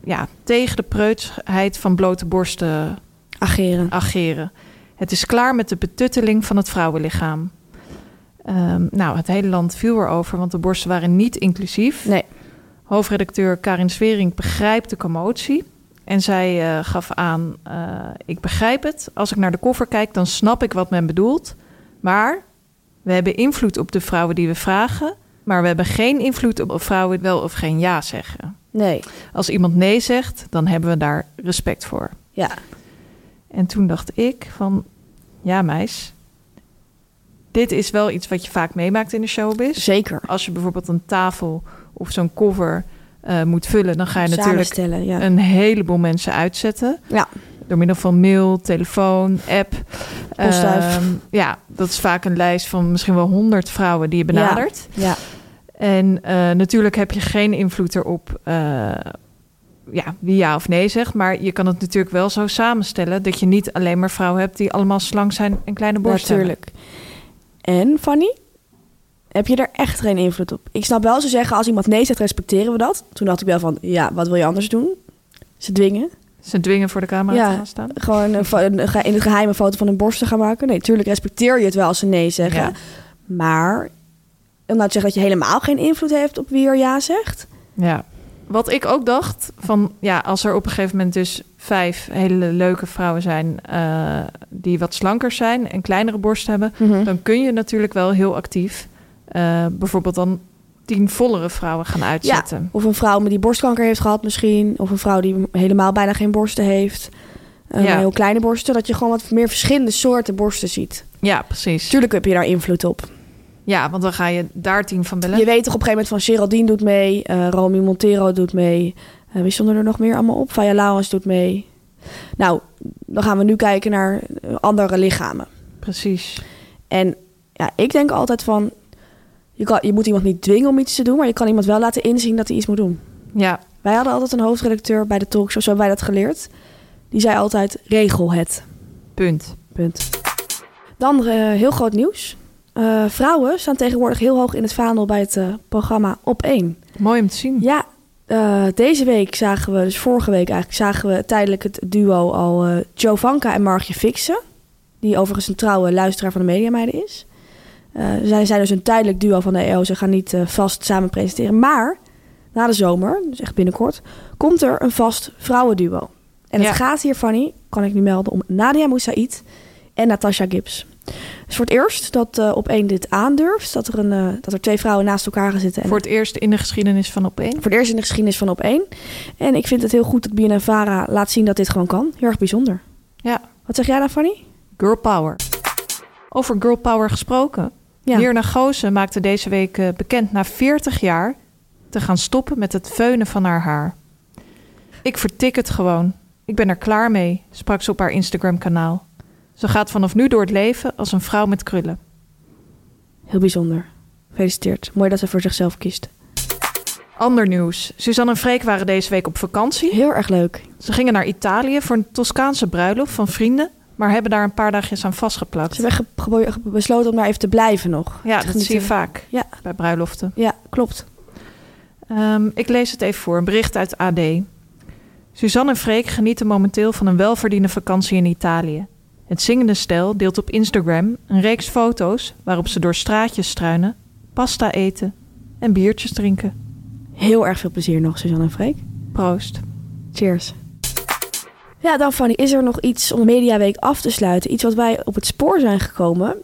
Speaker 2: ja, tegen de preutsheid van blote borsten
Speaker 3: Ageren.
Speaker 2: ageren. Het is klaar met de betutteling van het vrouwenlichaam. Ehm, nou, het hele land viel erover, want de borsten waren niet inclusief.
Speaker 3: Nee.
Speaker 2: Hoofdredacteur Karin Swering begrijpt de commotie. En zij eh, gaf aan, eh, ik begrijp het. Als ik naar de koffer kijk, dan snap ik wat men bedoelt. Maar we hebben invloed op de vrouwen die we vragen. Maar we hebben geen invloed op of vrouwen wel of geen ja zeggen.
Speaker 3: Nee.
Speaker 2: Als iemand nee zegt, dan hebben we daar respect voor.
Speaker 3: Ja.
Speaker 2: En toen dacht ik van, ja meis, dit is wel iets wat je vaak meemaakt in de showbiz.
Speaker 3: Zeker.
Speaker 2: Als je bijvoorbeeld een tafel of zo'n cover eh, moet vullen, dan ga je
Speaker 3: Samen
Speaker 2: natuurlijk Eh,
Speaker 3: stellen, ja.
Speaker 2: een heleboel mensen uitzetten.
Speaker 3: Ja.
Speaker 2: Door middel van mail, telefoon, app.
Speaker 3: Postduif.
Speaker 2: Ehm, ja, dat is vaak een lijst van misschien wel honderd vrouwen die je benadert.
Speaker 3: Ja.
Speaker 2: En eh, natuurlijk heb je geen invloed erop eh, ja, wie ja of nee zegt. Maar je kan het natuurlijk wel zo samenstellen dat je niet alleen maar vrouwen hebt die allemaal slank zijn en kleine borsten. hebben.
Speaker 3: Natuurlijk. En Fanny, heb je daar echt geen invloed op? Ik snap wel, ze zeggen als iemand nee zegt, respecteren we dat. Toen dacht ik wel van, ja, wat wil je anders doen? Ze dwingen.
Speaker 2: Ze dwingen voor de camera
Speaker 3: Ja.
Speaker 2: te gaan staan.
Speaker 3: Gewoon een, fo- een ge- in het geheim een foto van hun borst te gaan maken. Nee, tuurlijk respecteer je het wel als ze nee zeggen.
Speaker 2: Ja.
Speaker 3: Maar om nou te zeggen dat je helemaal geen invloed heeft op wie er ja zegt.
Speaker 2: Ja. Wat ik ook dacht, van ja, als er op een gegeven moment dus vijf hele leuke vrouwen zijn eh, die wat slanker zijn en kleinere borst hebben, dan kun je natuurlijk wel heel actief eh, bijvoorbeeld dan tien vollere vrouwen gaan
Speaker 3: Ja,
Speaker 2: uitzetten.
Speaker 3: of een vrouw met die borstkanker heeft gehad misschien. Of een vrouw die helemaal bijna geen borsten heeft. Eh,
Speaker 2: Ja.
Speaker 3: Heel kleine borsten. Dat je gewoon wat meer verschillende soorten borsten ziet.
Speaker 2: Ja, precies.
Speaker 3: Tuurlijk heb je daar invloed op.
Speaker 2: Ja, want dan ga je daar tien van bellen.
Speaker 3: Je weet toch op een gegeven moment van Geraldine doet mee, eh Romy Montero doet mee. Eh, wie stonden er nog meer allemaal op? Faya Lawrence doet mee. Nou, dan gaan we nu kijken naar eh, andere lichamen.
Speaker 2: Precies.
Speaker 3: En ja, ik denk altijd van, je, kan, je moet iemand niet dwingen om iets te doen, maar je kan iemand wel laten inzien dat hij iets moet doen.
Speaker 2: Ja,
Speaker 3: Wij hadden altijd een hoofdredacteur bij de talkshow, zo hebben wij dat geleerd. Die zei altijd, regel het.
Speaker 2: punt.
Speaker 3: Punt. Dan eh, heel groot nieuws. Eh, vrouwen staan tegenwoordig heel hoog in het vaandel bij het eh, programma Op 1.
Speaker 2: Mooi om te zien.
Speaker 3: Ja, eh, deze week zagen we, dus vorige week eigenlijk, zagen we tijdelijk het duo al eh Jovanka en Margje Fixen. Die overigens een trouwe luisteraar van de Mediameiden is. Eh, zij zijn dus een tijdelijk duo van de EO. Ze gaan niet eh, vast samen presenteren. Maar na de zomer, dus echt binnenkort, komt er een vast vrouwenduo. En
Speaker 2: Ja.
Speaker 3: het gaat hier, Fanny, kan ik nu melden, om Nadia Moussaïd en Natasha Gibbs. Het is voor het eerst dat eh op één dit aandurft. Dat er, een, eh, dat er twee vrouwen naast elkaar gaan zitten. En
Speaker 2: Voor het eerst in de geschiedenis van op één.
Speaker 3: voor het eerst in de geschiedenis van op één. En ik vind het heel goed dat BNNVARA laat zien dat dit gewoon kan. Heel erg bijzonder.
Speaker 2: Ja,
Speaker 3: Wat zeg jij dan, Fanny?
Speaker 2: girl power. Over girl power gesproken.
Speaker 3: Ja.
Speaker 2: Mirna Goosen maakte deze week eh, bekend na 40 jaar te gaan stoppen met het veunen van haar haar. Ik vertik het gewoon. Ik ben er klaar mee, sprak ze op haar Instagram-kanaal. Ze gaat vanaf nu door het leven als een vrouw met krullen.
Speaker 3: Heel bijzonder. Gefeliciteerd. Mooi dat ze voor zichzelf kiest.
Speaker 2: Ander nieuws. Suzanne en Freek waren deze week op vakantie.
Speaker 3: Heel erg leuk.
Speaker 2: Ze gingen naar Italië voor een Toscaanse bruiloft van vrienden, maar hebben daar een paar dagjes aan vastgeplakt.
Speaker 3: Ze hebben ge- ge- ge- besloten om daar even te blijven nog.
Speaker 2: Ja,
Speaker 3: Echt
Speaker 2: dat
Speaker 3: niet
Speaker 2: zie je
Speaker 3: te-
Speaker 2: vaak
Speaker 3: Ja.
Speaker 2: bij bruiloften.
Speaker 3: Ja, klopt.
Speaker 2: Ehm, ik lees het even voor, een bericht uit AD. Suzanne en Freek genieten momenteel van een welverdiende vakantie in Italië. Het zingende stel deelt op Instagram een reeks foto's waarop ze door straatjes struinen, pasta eten en biertjes drinken.
Speaker 3: Heel erg veel plezier nog, Suzanne en Freek.
Speaker 2: Proost.
Speaker 3: Cheers. Ja, dan Fanny, is er nog iets om de Mediaweek af te sluiten? Iets wat wij op het spoor zijn gekomen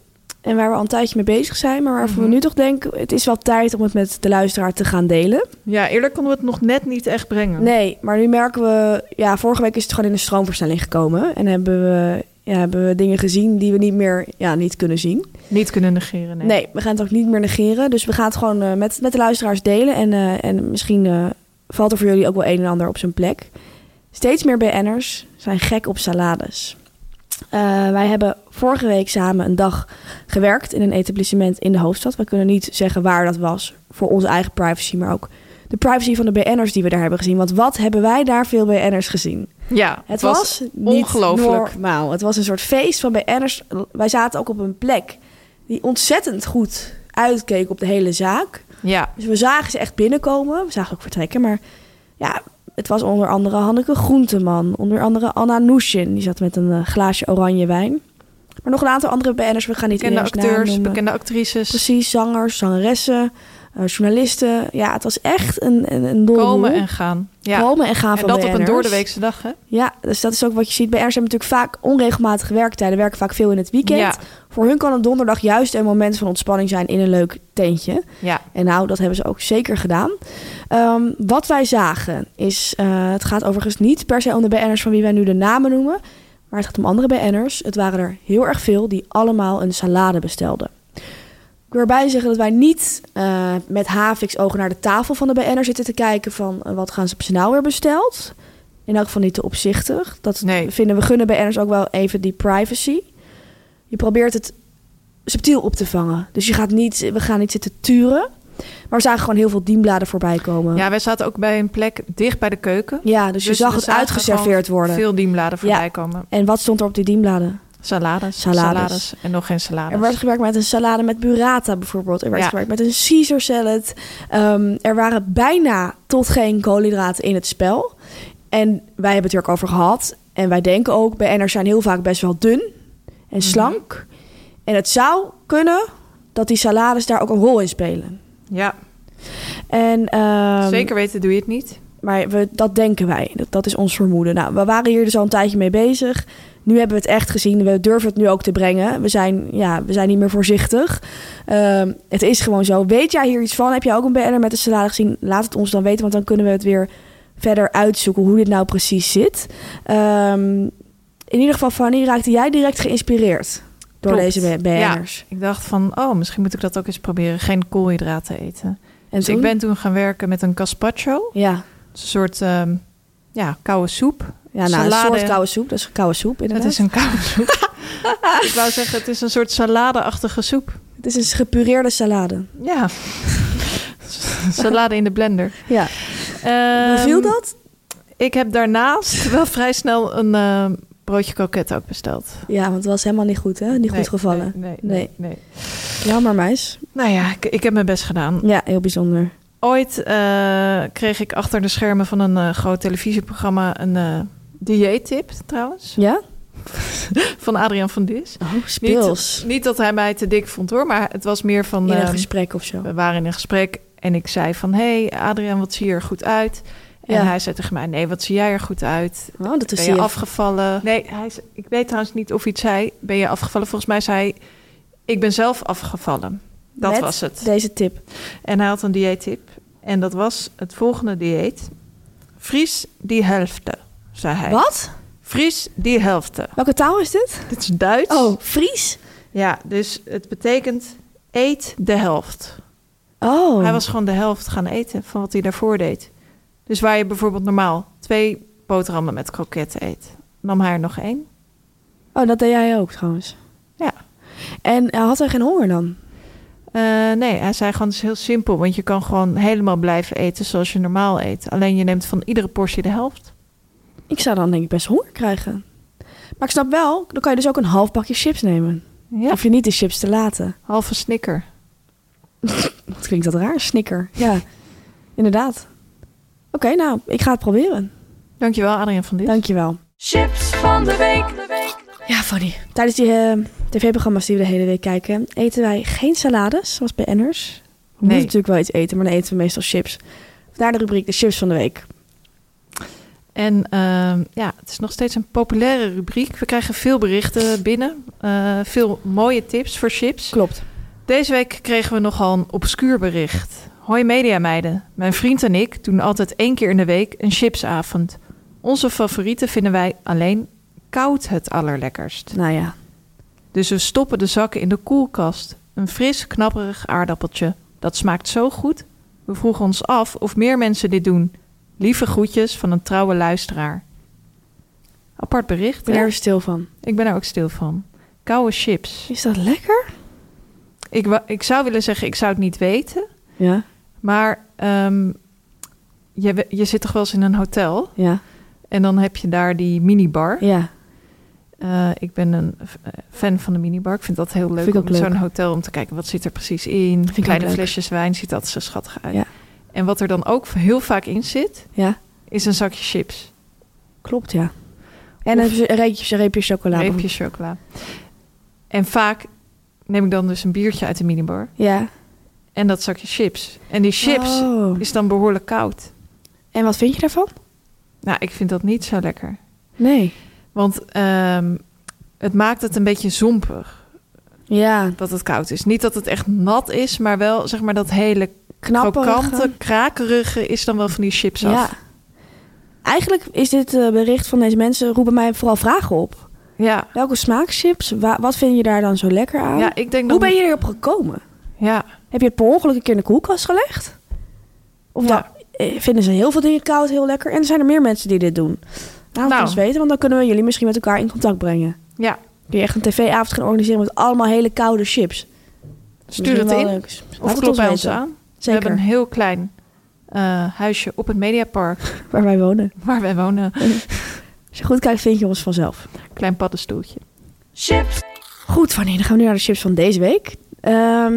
Speaker 3: en waar we al een tijdje mee bezig zijn, maar
Speaker 2: Mhm.
Speaker 3: waarvan we nu toch denken, het is wel tijd om het met de luisteraar te gaan delen.
Speaker 2: Ja, eerlijk konden we het nog net niet echt brengen.
Speaker 3: Nee, maar nu merken we... Ja, vorige week is het gewoon in een stroomversnelling gekomen. En hebben we, ja, hebben we dingen gezien die we niet meer ja, niet kunnen zien.
Speaker 2: Niet kunnen negeren,
Speaker 3: Nee. we gaan het ook niet meer negeren. Dus we gaan het gewoon eh, met, met de luisteraars delen. En, eh, en misschien eh, valt er voor jullie ook wel een en ander op zijn plek. Steeds meer BN'ers zijn gek op salades. Eh, wij hebben vorige week samen een dag gewerkt in een etablissement in de hoofdstad. We kunnen niet zeggen waar dat was voor onze eigen privacy, maar ook de privacy van de BN'ers die we daar hebben gezien. Want wat hebben wij daar veel BN'ers gezien?
Speaker 2: Ja,
Speaker 3: Het was, niet
Speaker 2: ongelooflijk.
Speaker 3: normaal. Het was een soort feest van BN'ers. Wij zaten ook op een plek die ontzettend goed uitkeek op de hele zaak.
Speaker 2: Ja,
Speaker 3: Dus we zagen ze echt binnenkomen. We zagen ze ook vertrekken, maar ja, het was onder andere Hanneke Groenteman. Onder andere Anna Nushin, die zat met een eh, glaasje oranje wijn. Maar nog een aantal andere BN'ers, we gaan niet
Speaker 2: bekende
Speaker 3: iedereen's naam
Speaker 2: acteurs,
Speaker 3: noemen.
Speaker 2: bekende actrices
Speaker 3: Precies, zangers, zangeressen, eh, journalisten. Ja, het was echt een, een, een dolle
Speaker 2: komen
Speaker 3: boel.
Speaker 2: en gaan. Ja.
Speaker 3: Komen en gaan
Speaker 2: en
Speaker 3: van
Speaker 2: dat op een
Speaker 3: BN'ers.
Speaker 2: doordeweekse dag, hè?
Speaker 3: Ja, dus dat is ook wat je ziet. BN'ers hebben natuurlijk vaak onregelmatige werktijden, werken vaak veel in het weekend.
Speaker 2: Ja.
Speaker 3: Voor hun kan een donderdag juist een moment van ontspanning zijn in een leuk tentje.
Speaker 2: Ja.
Speaker 3: En nou, dat hebben ze ook zeker gedaan. Ehm, wat wij zagen is, eh, het gaat overigens niet per se om de BN'ers van wie wij nu de namen noemen. Maar het gaat om andere BN'ers. Het waren er heel erg veel die allemaal een salade bestelden. Ik wil erbij zeggen dat wij niet eh, met Havix ogen naar de tafel van de BN'er zitten te kijken van eh, wat gaan ze op z'n nou weer besteld. in elk geval niet te opzichtig. Dat
Speaker 2: Nee.
Speaker 3: vinden we gunnen bij NRS ook wel even die privacy. Je probeert het subtiel op te vangen. Dus je gaat niet, we gaan niet zitten turen. Maar we zagen gewoon heel veel dienbladen voorbij komen.
Speaker 2: Ja, wij zaten ook bij een plek dicht bij de keuken.
Speaker 3: Ja, dus je
Speaker 2: Dus
Speaker 3: zag
Speaker 2: we
Speaker 3: het
Speaker 2: zagen
Speaker 3: uitgeserveerd
Speaker 2: gewoon
Speaker 3: worden.
Speaker 2: Veel dienbladen
Speaker 3: Ja.
Speaker 2: voorbij komen.
Speaker 3: En wat stond er op die dienbladen?
Speaker 2: Salades,
Speaker 3: Salades.
Speaker 2: salades. en nog geen salades.
Speaker 3: Er werd gewerkt met een salade met burrata bijvoorbeeld. Er werd
Speaker 2: dus- Ja.
Speaker 3: gewerkt met een Caesar salad. Ehm, er waren bijna tot geen koolhydraten in het spel. En wij hebben het er ook over gehad. En wij denken ook, BN'ers zijn heel vaak best wel dun
Speaker 2: Mhm.
Speaker 3: en slank. En het zou kunnen dat die salades daar ook een rol in spelen.
Speaker 2: Ja,
Speaker 3: En, ehm,
Speaker 2: zeker weten doe je het niet.
Speaker 3: Maar we, dat denken wij. Dat, dat is ons vermoeden. Nou, we waren hier dus al een tijdje mee bezig. Nu hebben we het echt gezien. We durven het nu ook te brengen. We zijn, ja, we zijn niet meer voorzichtig. Ehm, het is gewoon zo. Weet jij hier iets van? Heb jij ook een BN'er met een salade gezien? Laat het ons dan weten, want dan kunnen we het weer verder uitzoeken hoe dit nou precies zit. Ehm, in ieder geval, Fanny, raakte jij direct geïnspireerd door
Speaker 2: Klopt.
Speaker 3: deze BN'ers?
Speaker 2: Ik dacht van, oh, misschien moet ik dat ook eens proberen. Geen koolhydraten eten.
Speaker 3: En
Speaker 2: Dus
Speaker 3: toen?
Speaker 2: ik ben toen gaan werken met een gazpacho.
Speaker 3: Ja,
Speaker 2: Een soort ehm, ja, koude soep.
Speaker 3: ja nou, een
Speaker 2: Salade.
Speaker 3: soort koude soep. Dat is koude soep,
Speaker 2: Het
Speaker 3: inderdaad.
Speaker 2: is een koude soep. ik wou zeggen, het is een soort saladeachtige soep.
Speaker 3: het is een gepureerde salade.
Speaker 2: Ja. Salade in de blender.
Speaker 3: Ja.
Speaker 2: Ehm,
Speaker 3: Beviel dat?
Speaker 2: Ik heb daarnaast wel vrij snel een ehm, broodje kroket ook besteld.
Speaker 3: Ja, want het was helemaal niet goed, hè? Niet
Speaker 2: Nee,
Speaker 3: goed gevallen.
Speaker 2: Nee, nee,
Speaker 3: Nee.
Speaker 2: nee. nee.
Speaker 3: Jammer, meis.
Speaker 2: Nou ja, ik, ik heb mijn best gedaan.
Speaker 3: Ja, heel bijzonder.
Speaker 2: Ooit eh, kreeg ik achter de schermen van een eh, groot televisieprogramma een eh dieettip trouwens.
Speaker 3: Ja?
Speaker 2: Van Adriaan van Dis.
Speaker 3: Oh, speels.
Speaker 2: Niet dat hij mij te dik vond hoor, maar het was meer van...
Speaker 3: In een
Speaker 2: ehm,
Speaker 3: gesprek of zo.
Speaker 2: we waren in een gesprek en ik zei van... Hé hey, Adriaan, wat zie je er goed uit? En
Speaker 3: Ja.
Speaker 2: hij zei tegen mij... Nee, wat zie jij er goed uit?
Speaker 3: Oh, dat is
Speaker 2: ben je
Speaker 3: hier.
Speaker 2: afgevallen? Nee, hij, zei- ik weet trouwens niet of hij het zei. Ben je afgevallen? Volgens mij zei hij... Ik ben zelf afgevallen. Dat
Speaker 3: Met
Speaker 2: was het.
Speaker 3: Deze tip.
Speaker 2: En hij had een dieettip. En dat was het volgende dieet. Vries die helft, zei hij.
Speaker 3: Wat?
Speaker 2: Vries die helft.
Speaker 3: Welke taal is dit?
Speaker 2: Dit is Duits.
Speaker 3: Oh, Fries.
Speaker 2: Ja, dus het betekent eet de helft.
Speaker 3: Oh.
Speaker 2: Hij was gewoon de helft gaan eten van wat hij daarvoor deed. Dus waar je bijvoorbeeld normaal twee boterhammen met kroketten eet, nam hij er nog één.
Speaker 3: Oh, dat deed jij ook trouwens.
Speaker 2: Ja.
Speaker 3: En hij had hij geen honger dan?
Speaker 2: Eh, nee, hij zei gewoon, het is heel simpel, want je kan gewoon helemaal blijven eten zoals je normaal eet. Alleen je neemt van iedere portie de helft.
Speaker 3: Ik zou dan denk ik best honger krijgen. Maar ik snap wel, dan kan je dus ook een half bakje chips nemen.
Speaker 2: Ja,
Speaker 3: Hoef je niet de chips te laten.
Speaker 2: halve snicker.
Speaker 3: Wat klinkt dat raar? Snicker. Ja, inderdaad. Oké, nou, ik ga het proberen.
Speaker 2: Dankjewel, Adriaan van Dit.
Speaker 3: Dankjewel.
Speaker 4: Chips van de week.
Speaker 3: Ja, Fanny. Tijdens die eh, tv-programma's die we de hele week kijken, eten wij geen salades, zoals bij Enners. We moeten natuurlijk wel iets eten, maar dan eten we meestal chips. Vandaar de rubriek de chips van de week.
Speaker 2: En ehm, ja, het is nog steeds een populaire rubriek. We krijgen veel berichten binnen. eh, veel mooie tips voor chips.
Speaker 3: Klopt.
Speaker 2: Deze week kregen we nogal een obscuur bericht. Hoi mediameiden. Mijn vriend en ik doen altijd één keer in de week een chipsavond. Onze favorieten vinden wij alleen koud het allerlekkerst.
Speaker 3: Nou ja,
Speaker 2: Dus we stoppen de zakken in de koelkast. Een fris, knapperig aardappeltje. Dat smaakt zo goed. We vroegen ons af of meer mensen dit doen. Lieve groetjes van een trouwe luisteraar. Apart
Speaker 3: ik
Speaker 2: bericht.
Speaker 3: ben
Speaker 2: hè?
Speaker 3: er stil van.
Speaker 2: Ik ben er ook stil van. Koude chips.
Speaker 3: Is dat lekker?
Speaker 2: Ik, wa- ik zou willen zeggen, ik zou het niet weten.
Speaker 3: Ja,
Speaker 2: Maar ehm, je, we- je zit toch wel eens in een hotel.
Speaker 3: ja,
Speaker 2: En dan heb je daar die minibar.
Speaker 3: ja.
Speaker 2: Eh, ik ben een f- eh, fan van de minibar. Ik vind dat heel leuk
Speaker 3: Vind ik ook
Speaker 2: om in zo'n
Speaker 3: leuk.
Speaker 2: hotel om te kijken wat zit er precies in.
Speaker 3: ik
Speaker 2: Kleine
Speaker 3: ook leuk.
Speaker 2: flesjes wijn ziet dat zo schattig uit.
Speaker 3: Ja.
Speaker 2: En wat er dan ook heel vaak in zit,
Speaker 3: Ja,
Speaker 2: is een zakje chips,
Speaker 3: klopt, ja. En een, een, reepje, een reepje chocola.
Speaker 2: een reepje chocola. En vaak neem ik dan dus een biertje uit de minibar
Speaker 3: Ja.
Speaker 2: en dat zakje chips. En die chips
Speaker 3: Oh.
Speaker 2: is dan behoorlijk koud.
Speaker 3: En wat vind je daarvan?
Speaker 2: Nou, ik vind dat niet zo lekker.
Speaker 3: Nee.
Speaker 2: Want ehm, het maakt het een beetje zompig
Speaker 3: Ja,
Speaker 2: dat het koud is. Niet dat het echt nat is, maar wel zeg maar dat hele
Speaker 3: knapperige.
Speaker 2: krokante, krakerige is dan wel van die chips
Speaker 3: Ja.
Speaker 2: af.
Speaker 3: Eigenlijk is dit eh, bericht van deze mensen, roepen mij vooral vragen op.
Speaker 2: Ja.
Speaker 3: Welke smaakchips? Wa- wat vind je daar dan zo lekker aan?
Speaker 2: Ja, ik denk
Speaker 3: Hoe
Speaker 2: dat...
Speaker 3: ben je erop gekomen?
Speaker 2: Ja,
Speaker 3: Heb je het per ongeluk een keer in de koelkast gelegd?
Speaker 2: Ja.
Speaker 3: Of dat- eh, vinden ze heel veel dingen koud heel lekker. En er zijn er meer mensen die dit doen. Laat het
Speaker 2: Nou.
Speaker 3: ons weten, want dan kunnen we jullie misschien met elkaar in contact brengen.
Speaker 2: Ja,
Speaker 3: Kun je echt een tv-avond gaan organiseren met allemaal hele koude chips.
Speaker 2: stuur het
Speaker 3: eh,
Speaker 2: in. Of klop bij ons aan. We hebben een
Speaker 3: Zeker,
Speaker 2: heel klein eh, huisje op het Mediapark
Speaker 3: waar wij wonen.
Speaker 2: waar wij wonen.
Speaker 3: Als je goed kijkt, vind je ons vanzelf.
Speaker 2: Klein paddenstoeltje.
Speaker 4: chips,
Speaker 3: Goed, Fanny, dan gaan we nu naar de chips van deze week. Ehm,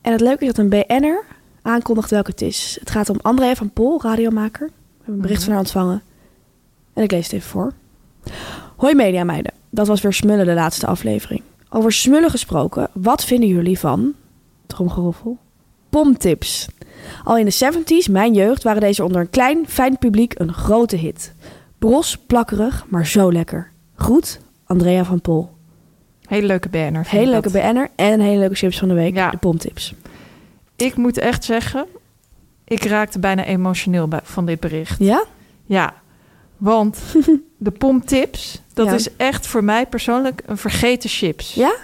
Speaker 3: en het leuke is dat een BN'er aankondigt welke het is. Het gaat om André van Pol, radiomaker. We hebben een bericht van haar ontvangen. En ik lees het even voor. Hoi mediameiden, dat was weer Smullen de laatste aflevering. Over Smullen gesproken, wat vinden jullie van... Tromgeroffel. Pomtips. Al in de 70s, mijn jeugd, waren deze onder een klein, fijn publiek een grote hit. Bros, plakkerig, maar zo lekker. Goed, Andrea van Pol.
Speaker 2: Hele leuke banner. vind
Speaker 3: Hele
Speaker 2: ik
Speaker 3: leuke
Speaker 2: dat.
Speaker 3: BN'er en hele leuke chips van de week.
Speaker 2: Ja.
Speaker 3: De pomtips.
Speaker 2: Ik moet echt zeggen, ik raakte bijna emotioneel bij, van dit bericht.
Speaker 3: Ja?
Speaker 2: Ja, want de pomptips, dat
Speaker 3: Ja.
Speaker 2: is echt voor mij persoonlijk een vergeten chips.
Speaker 3: Ja?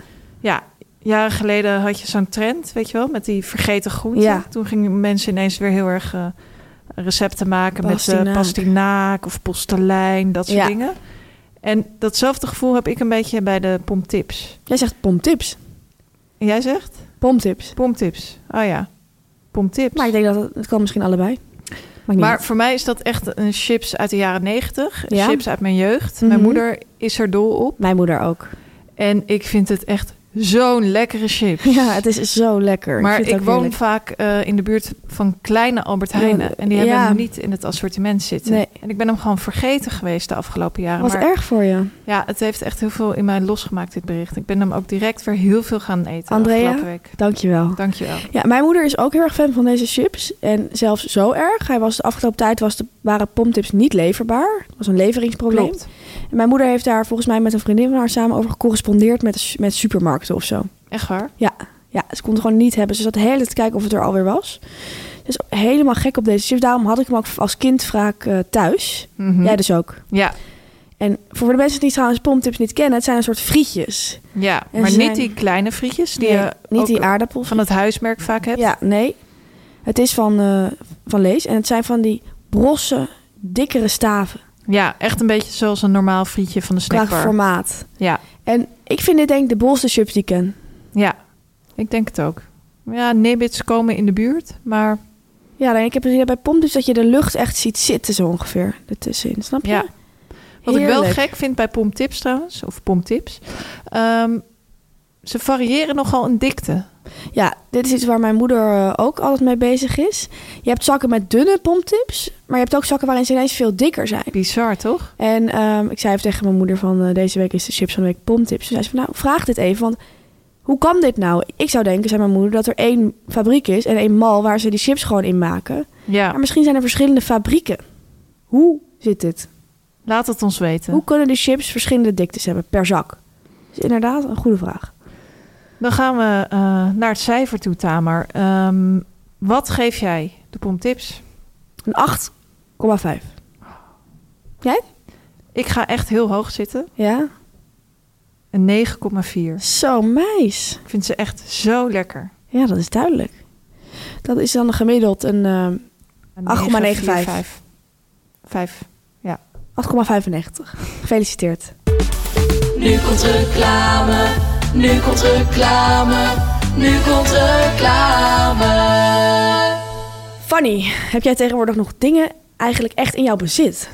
Speaker 2: Ja, jaren geleden had je zo'n trend, weet je wel, met die vergeten groenten.
Speaker 3: Ja.
Speaker 2: Toen gingen mensen ineens weer heel erg eh, recepten maken met eh
Speaker 3: Pastinaak.
Speaker 2: pastinaak of postelijn, dat soort
Speaker 3: Ja.
Speaker 2: dingen. En datzelfde gevoel heb ik een beetje bij de pomptips.
Speaker 3: Jij zegt pomtips.
Speaker 2: En jij zegt?
Speaker 3: Pomtips.
Speaker 2: Pomptips. Oh ja, pomptips.
Speaker 3: Maar ik denk dat het, het kan misschien allebei. Maakt niet
Speaker 2: Maar
Speaker 3: uit.
Speaker 2: voor mij is dat echt een chips uit de jaren negentig.
Speaker 3: Ja?
Speaker 2: Chips uit mijn jeugd. Mijn
Speaker 3: Mhm.
Speaker 2: moeder is er dol op.
Speaker 3: Mijn moeder ook.
Speaker 2: En ik vind het echt zo'n lekkere chips.
Speaker 3: Ja, het is zo lekker.
Speaker 2: maar
Speaker 3: vind
Speaker 2: ik,
Speaker 3: het ook
Speaker 2: woon
Speaker 3: heerlijk.
Speaker 2: vaak eh, in de buurt van kleine Albert Heijnen.
Speaker 3: Ja,
Speaker 2: en die hebben
Speaker 3: ja.
Speaker 2: hem niet in het assortiment zitten.
Speaker 3: Nee.
Speaker 2: En ik ben hem gewoon vergeten geweest de afgelopen jaren.
Speaker 3: Wat
Speaker 2: maar
Speaker 3: erg voor je.
Speaker 2: ja, het heeft echt heel veel in mij losgemaakt, dit bericht. Ik ben hem ook direct weer heel veel gaan eten
Speaker 3: Andrea?
Speaker 2: afgelopen week.
Speaker 3: Dankjewel.
Speaker 2: Dankjewel.
Speaker 3: Ja, mijn moeder is ook heel erg fan van deze chips. En zelfs zo erg. Hij was de afgelopen tijd was de, waren pomtips niet leverbaar. Het was een leveringsprobleem.
Speaker 2: Klopt.
Speaker 3: En mijn moeder heeft daar volgens mij met een vriendin van haar samen over gecorrespondeerd met, de su- met supermarkten of zo.
Speaker 2: Echt waar?
Speaker 3: Ja, ja, ze kon het gewoon niet hebben. Ze zat de hele tijd te kijken of het er alweer was. Dus helemaal gek op deze chips. Daarom had ik hem ook als kind vaak eh, thuis.
Speaker 2: Mhm.
Speaker 3: Jij dus ook.
Speaker 2: Ja,
Speaker 3: En voor de mensen die trouwens pomtips niet kennen, het zijn een soort frietjes.
Speaker 2: ja.
Speaker 3: En
Speaker 2: maar
Speaker 3: ze
Speaker 2: niet
Speaker 3: zijn-
Speaker 2: die kleine frietjes die
Speaker 3: Nee,
Speaker 2: je
Speaker 3: niet
Speaker 2: ook
Speaker 3: die aardappels.
Speaker 2: van het huismerk vaak hebt.
Speaker 3: Ja, nee. Het is van, eh, van lees. En het zijn van die brosse, dikkere staven.
Speaker 2: Ja, echt een beetje zoals een normaal frietje van de
Speaker 3: Qua
Speaker 2: snackbar.
Speaker 3: formaat.
Speaker 2: Ja,
Speaker 3: En ik vind dit denk ik de bolste chips die ik ken.
Speaker 2: ja, ik denk het ook. Ja, nibbits komen in de buurt, maar
Speaker 3: Ja, alleen ik heb het idee bij pomtips dat je de lucht echt ziet zitten zo ongeveer. Ertussenin, snap je?
Speaker 2: ja. Wat ik wel
Speaker 3: Heerlijk.
Speaker 2: gek vind bij pomptips trouwens, of pomptips, ehm, ze variëren nogal in dikte.
Speaker 3: Ja, dit is iets waar mijn moeder eh, ook altijd mee bezig is. Je hebt zakken met dunne pomptips, maar je hebt ook zakken waarin ze ineens veel dikker zijn.
Speaker 2: Bizar, toch?
Speaker 3: En ehm, ik zei even tegen mijn moeder van eh, deze week is de chips van de week pomptips. Toen zei ze van nou, vraag dit even, want hoe kan dit nou? Ik zou denken, zei mijn moeder, dat er één fabriek is en één mal waar ze die chips gewoon in maken.
Speaker 2: Ja,
Speaker 3: Maar misschien zijn er verschillende fabrieken. Hoe zit dit?
Speaker 2: laat het ons weten.
Speaker 3: Hoe kunnen de chips verschillende diktes hebben per zak? Dus inderdaad, een goede vraag.
Speaker 2: Dan gaan we eh, naar het cijfer toe, Tamer. Ehm, wat geef jij de pomptips?
Speaker 3: Een 8,5. Jij?
Speaker 2: Ik ga echt heel hoog zitten,
Speaker 3: Ja.
Speaker 2: een 9,4.
Speaker 3: Zo, meis.
Speaker 2: Ik vind ze echt zo lekker.
Speaker 3: Ja, dat is duidelijk. Dat is dan gemiddeld een ehm, 8,95.
Speaker 2: 5.
Speaker 3: 8,95. Gefeliciteerd.
Speaker 4: nu komt reclame, nu komt reclame, nu komt reclame.
Speaker 3: Fanny, heb jij tegenwoordig nog dingen eigenlijk echt in jouw bezit?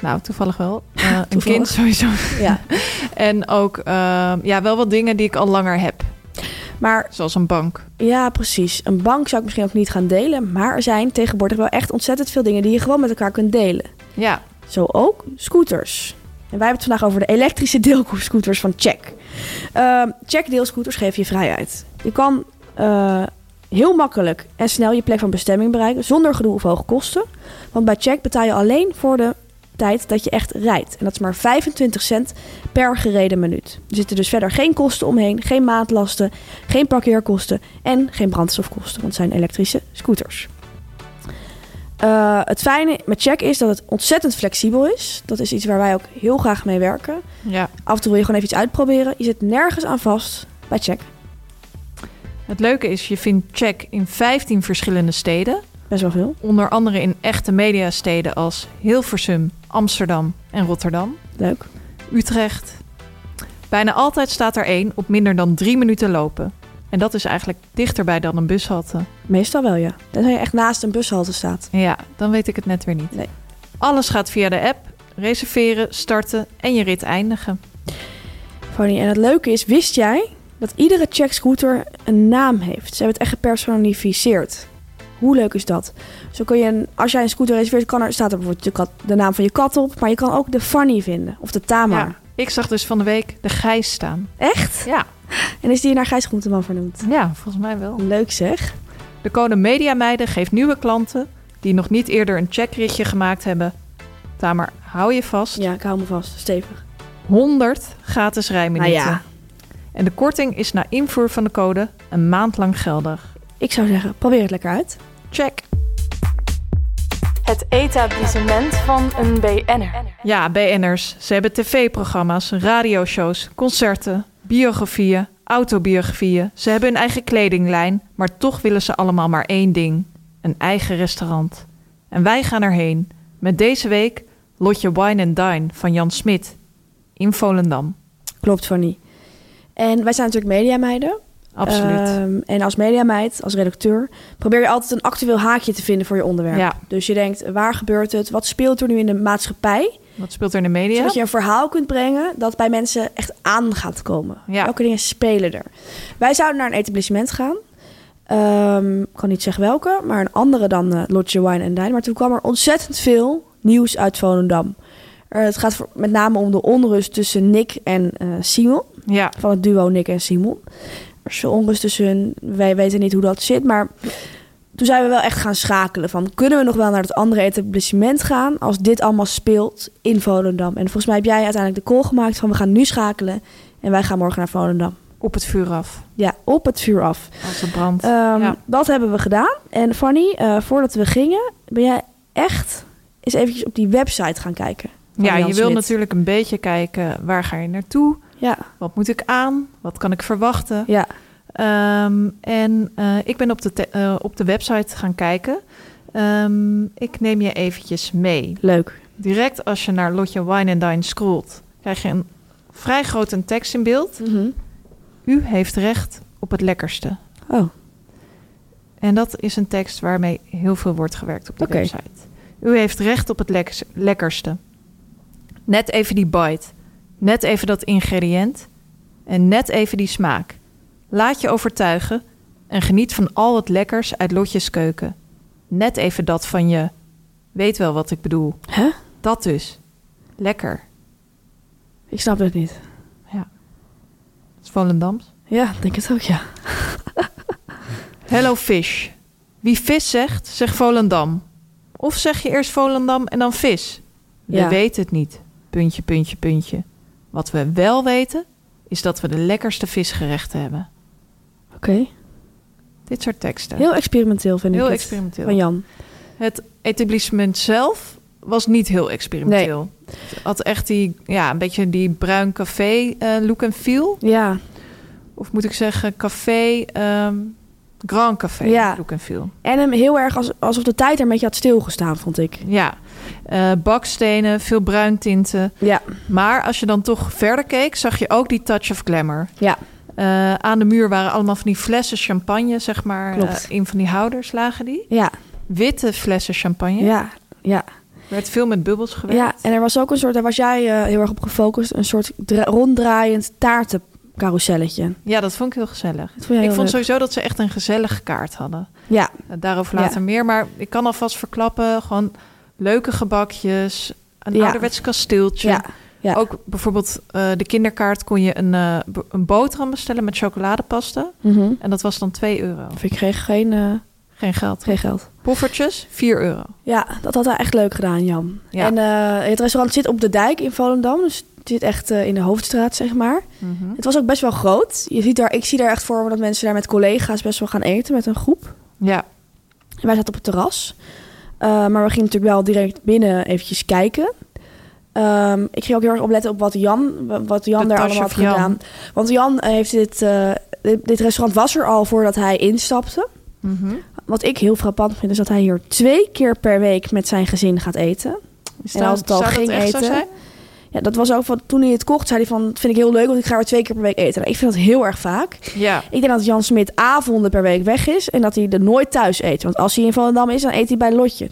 Speaker 2: Nou, toevallig wel. Eh, een
Speaker 3: Toevallig.
Speaker 2: kind sowieso.
Speaker 3: Ja.
Speaker 2: En ook eh, ja, wel wat dingen die ik al langer heb.
Speaker 3: Maar
Speaker 2: Zoals een bank.
Speaker 3: ja, precies. Een bank zou ik misschien ook niet gaan delen. Maar er zijn tegenwoordig wel echt ontzettend veel dingen die je gewoon met elkaar kunt delen.
Speaker 2: Ja,
Speaker 3: Zo ook scooters. En wij hebben het vandaag over de elektrische deelscooters van Check. Ehm, Check deelscooters geven je vrijheid. Je kan eh, heel makkelijk en snel je plek van bestemming bereiken zonder gedoe of hoge kosten. Want bij Check betaal je alleen voor de tijd dat je echt rijdt. En dat is maar 25 cent per gereden minuut. Er zitten dus verder geen kosten omheen, geen maandlasten, geen parkeerkosten en geen brandstofkosten. Want het zijn elektrische scooters. Eh, het fijne met check is dat het ontzettend flexibel is. Dat is iets waar wij ook heel graag mee werken.
Speaker 2: ja.
Speaker 3: Af en toe wil je gewoon even iets uitproberen. Je zit nergens aan vast bij check.
Speaker 2: Het leuke is, je vindt check in 15 verschillende steden.
Speaker 3: Best wel veel.
Speaker 2: Onder andere in echte mediasteden als Hilversum, Amsterdam en Rotterdam.
Speaker 3: Leuk.
Speaker 2: Utrecht. Bijna altijd staat er één op minder dan drie minuten lopen. En dat is eigenlijk dichterbij dan een bushalte.
Speaker 3: Meestal wel, ja. Tenzij je echt naast een bushalte staat.
Speaker 2: Ja, dan weet ik het net weer niet.
Speaker 3: Nee.
Speaker 2: Alles gaat via de app. Reserveren, starten en je rit eindigen.
Speaker 3: Fanny, en het leuke is, wist jij dat iedere checkscooter een naam heeft? Ze hebben het echt gepersonaliseerd. Hoe leuk is dat? Zo kun je, een, als jij een scooter reserveert, kan er, staat er bijvoorbeeld je kat, de naam van je kat op. Maar je kan ook de Fanny vinden. Of de Tamar.
Speaker 2: Ja, ik zag dus van de week de Gijs staan.
Speaker 3: Echt?
Speaker 2: Ja.
Speaker 3: En is die naar Gijs Groenteman vernoemd?
Speaker 2: Ja, volgens mij wel.
Speaker 3: Leuk zeg.
Speaker 2: De code Mediameiden geeft nieuwe klanten die nog niet eerder een checkritje gemaakt hebben. Tamer, hou je vast.
Speaker 3: Ja, ik hou me vast. Stevig.
Speaker 2: 100 gratis rijminuten.
Speaker 3: Nou ja.
Speaker 2: En de korting is na invoer van de code een maand lang geldig.
Speaker 3: Ik zou zeggen, probeer het lekker uit.
Speaker 2: Check.
Speaker 5: Het etablissement van een BN'er.
Speaker 2: Ja, BN'ers. Ze hebben tv-programma's, radioshows, concerten, biografieën, autobiografieën. Ze hebben hun eigen kledinglijn, maar toch willen ze allemaal maar één ding. Een eigen restaurant. En wij gaan erheen. Met deze week Lotje Wine and Dine van Jan Smit. In Volendam.
Speaker 3: Klopt, Fanny. En wij zijn natuurlijk mediameiden.
Speaker 2: Absoluut.
Speaker 3: Ehm, en als mediameid, als redacteur, probeer je altijd een actueel haakje te vinden voor je onderwerp.
Speaker 2: Ja.
Speaker 3: Dus je denkt, waar gebeurt het? Wat speelt er nu in de maatschappij?
Speaker 2: Wat speelt er in de media?
Speaker 3: Zodat je een verhaal kunt brengen dat bij mensen echt aan gaat komen.
Speaker 2: Ja.
Speaker 3: Welke dingen spelen er? Wij zouden naar een etablissement gaan. Ehm, ik kan niet zeggen welke, maar een andere dan eh Lodge Wine and Dine. Maar toen kwam er ontzettend veel nieuws uit Volendam. Eh, het gaat voor- met name om de onrust tussen Nick en eh, Simon
Speaker 2: Ja,
Speaker 3: van het duo Nick en Simon. Er is veel onrust tussen hun. Wij weten niet hoe dat zit, maar toen zijn we wel echt gaan schakelen van... kunnen we nog wel naar het andere etablissement gaan... als dit allemaal speelt in Volendam? En volgens mij heb jij uiteindelijk de call gemaakt van... we gaan nu schakelen en wij gaan morgen naar Volendam.
Speaker 2: op het vuur af.
Speaker 3: Ja, op het vuur af.
Speaker 2: Als het brandt.
Speaker 3: Ehm,
Speaker 2: Ja.
Speaker 3: Dat hebben we gedaan. En Fanny, eh, voordat we gingen... ben jij echt eens eventjes op die website gaan kijken. van
Speaker 2: ja,
Speaker 3: Jan
Speaker 2: je wil
Speaker 3: Smit.
Speaker 2: natuurlijk een beetje kijken waar ga je naartoe?
Speaker 3: Ja,
Speaker 2: Wat moet ik aan? Wat kan ik verwachten?
Speaker 3: ja.
Speaker 2: Ehm, en eh, ik ben op de, te- eh, op de website gaan kijken. Ehm, ik neem je eventjes mee.
Speaker 3: leuk.
Speaker 2: Direct als je naar Lotje Wine and Dine scrolt, krijg je een vrij grote tekst in beeld.
Speaker 3: Mhm.
Speaker 2: U heeft recht op het lekkerste.
Speaker 3: Oh,
Speaker 2: En dat is een tekst waarmee heel veel wordt gewerkt op de
Speaker 3: Oké.
Speaker 2: website. U heeft recht op het lek- lekkerste. Net even die bite. Net even dat ingrediënt. En net even die smaak. Laat je overtuigen en geniet van al het lekkers uit Lotjes keuken. Net even dat van je. Weet wel wat ik bedoel.
Speaker 3: hè?
Speaker 2: Dat dus. Lekker.
Speaker 3: Ik snap het niet.
Speaker 2: Het is Volendams.
Speaker 3: Ja, ik denk het ook, ja.
Speaker 2: Hello fish. Wie vis zegt, zegt Volendam. Of zeg je eerst Volendam en dan vis? We
Speaker 3: Ja.
Speaker 2: weten het niet. Puntje, puntje, puntje. Wat we wel weten, is dat we de lekkerste visgerechten hebben.
Speaker 3: Oké.
Speaker 2: Dit soort teksten.
Speaker 3: Heel experimenteel vind ik
Speaker 2: Heel
Speaker 3: het.
Speaker 2: experimenteel.
Speaker 3: Van Jan.
Speaker 2: Het etablissement zelf was niet heel experimenteel. Het had echt die, ja, een beetje die bruin café eh, look en feel.
Speaker 3: Ja,
Speaker 2: Of moet ik zeggen café, ehm, grand café
Speaker 3: Ja.
Speaker 2: look en feel.
Speaker 3: en hem heel erg als, alsof de tijd er een beetje had stilgestaan, vond ik.
Speaker 2: Ja, Eh, bakstenen, veel bruintinten.
Speaker 3: Ja,
Speaker 2: Maar als je dan toch verder keek, zag je ook die touch of glamour.
Speaker 3: ja.
Speaker 2: Eh, aan de muur waren allemaal van die flessen champagne, zeg maar.
Speaker 3: Klopt.
Speaker 2: eh, in van die houders lagen die.
Speaker 3: Ja,
Speaker 2: Witte flessen champagne.
Speaker 3: ja, ja.
Speaker 2: Er werd veel met bubbels gewerkt.
Speaker 3: ja. En er was ook een soort, daar was jij eh, heel erg op gefocust, een soort dra- ronddraaiend taartencarouselletje.
Speaker 2: Ja, dat vond ik heel gezellig.
Speaker 3: Dat vond jij
Speaker 2: ik
Speaker 3: heel
Speaker 2: vond
Speaker 3: leuk.
Speaker 2: sowieso dat ze echt een gezellige kaart hadden.
Speaker 3: Ja,
Speaker 2: Eh, Daarover later
Speaker 3: Ja.
Speaker 2: meer. Maar ik kan alvast verklappen, gewoon leuke gebakjes, een
Speaker 3: Ja.
Speaker 2: ouderwets kasteeltje.
Speaker 3: ja, ja.
Speaker 2: Ook bijvoorbeeld eh, de kinderkaart kon je een, eh, b- een boterham bestellen met chocoladepasta.
Speaker 3: Mhm.
Speaker 2: En dat was dan 2 euro.
Speaker 3: Of ik kreeg geen, eh,
Speaker 2: Geen geld.
Speaker 3: geen geld.
Speaker 2: Poffertjes, 4 euro.
Speaker 3: Ja, dat had hij echt leuk gedaan, Jan.
Speaker 2: Ja.
Speaker 3: En eh, het restaurant zit op de dijk in Volendam. Dus het zit echt eh, in de hoofdstraat, zeg maar.
Speaker 2: Mhm.
Speaker 3: Het was ook best wel groot. Je ziet daar, ik zie daar echt voor me dat mensen daar met collega's best wel gaan eten, met een groep.
Speaker 2: Ja,
Speaker 3: En wij zaten op het terras. Eh, maar we gingen natuurlijk wel direct binnen eventjes kijken. Ehm, ik ging ook heel erg opletten op wat Jan, wa- wat Jan
Speaker 2: De
Speaker 3: daar
Speaker 2: tas
Speaker 3: allemaal had
Speaker 2: of Jan.
Speaker 3: gedaan. Want Jan eh, heeft dit, eh, dit, dit restaurant was er al voordat hij instapte.
Speaker 2: Mhm.
Speaker 3: Wat ik heel frappant vind, is dat hij hier twee keer per week met zijn gezin gaat eten.
Speaker 2: Is
Speaker 3: En als het al
Speaker 2: zou dat
Speaker 3: ging
Speaker 2: echt zo
Speaker 3: eten-
Speaker 2: zijn?
Speaker 3: Ja, dat was ook van toen hij het kocht, zei hij van, dat vind ik heel leuk, want ik ga er twee keer per week eten. Nou, ik vind dat heel erg vaak.
Speaker 2: Ja.
Speaker 3: Ik denk dat Jan Smit avonden per week weg is en dat hij er nooit thuis eet. Want als hij in Volendam is, dan eet hij bij Lotje.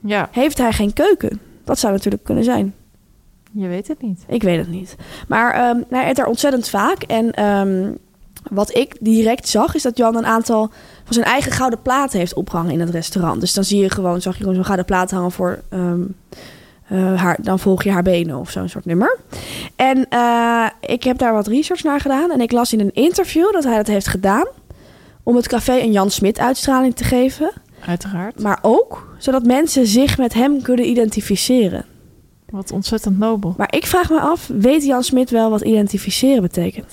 Speaker 2: ja,
Speaker 3: Heeft hij geen keuken? Dat zou natuurlijk kunnen zijn.
Speaker 2: je weet het niet.
Speaker 3: Ik weet het niet. Maar ehm, hij eet daar ontzettend vaak. En ehm, wat ik direct zag, is dat Jan een aantal van zijn eigen gouden platen heeft opgehangen in het restaurant. Dus dan zie je gewoon, zag je gewoon zo'n gouden plaat hangen voor ehm, eh, haar. Dan volg je haar benen of zo'n soort nummer. En eh, ik heb daar wat research naar gedaan. En ik las in een interview dat hij dat heeft gedaan. Om het café een Jan Smit uitstraling te geven.
Speaker 2: Uiteraard.
Speaker 3: Maar ook zodat mensen zich met hem kunnen identificeren.
Speaker 2: Wat ontzettend nobel.
Speaker 3: Maar ik vraag me af, weet Jan Smit wel wat identificeren betekent?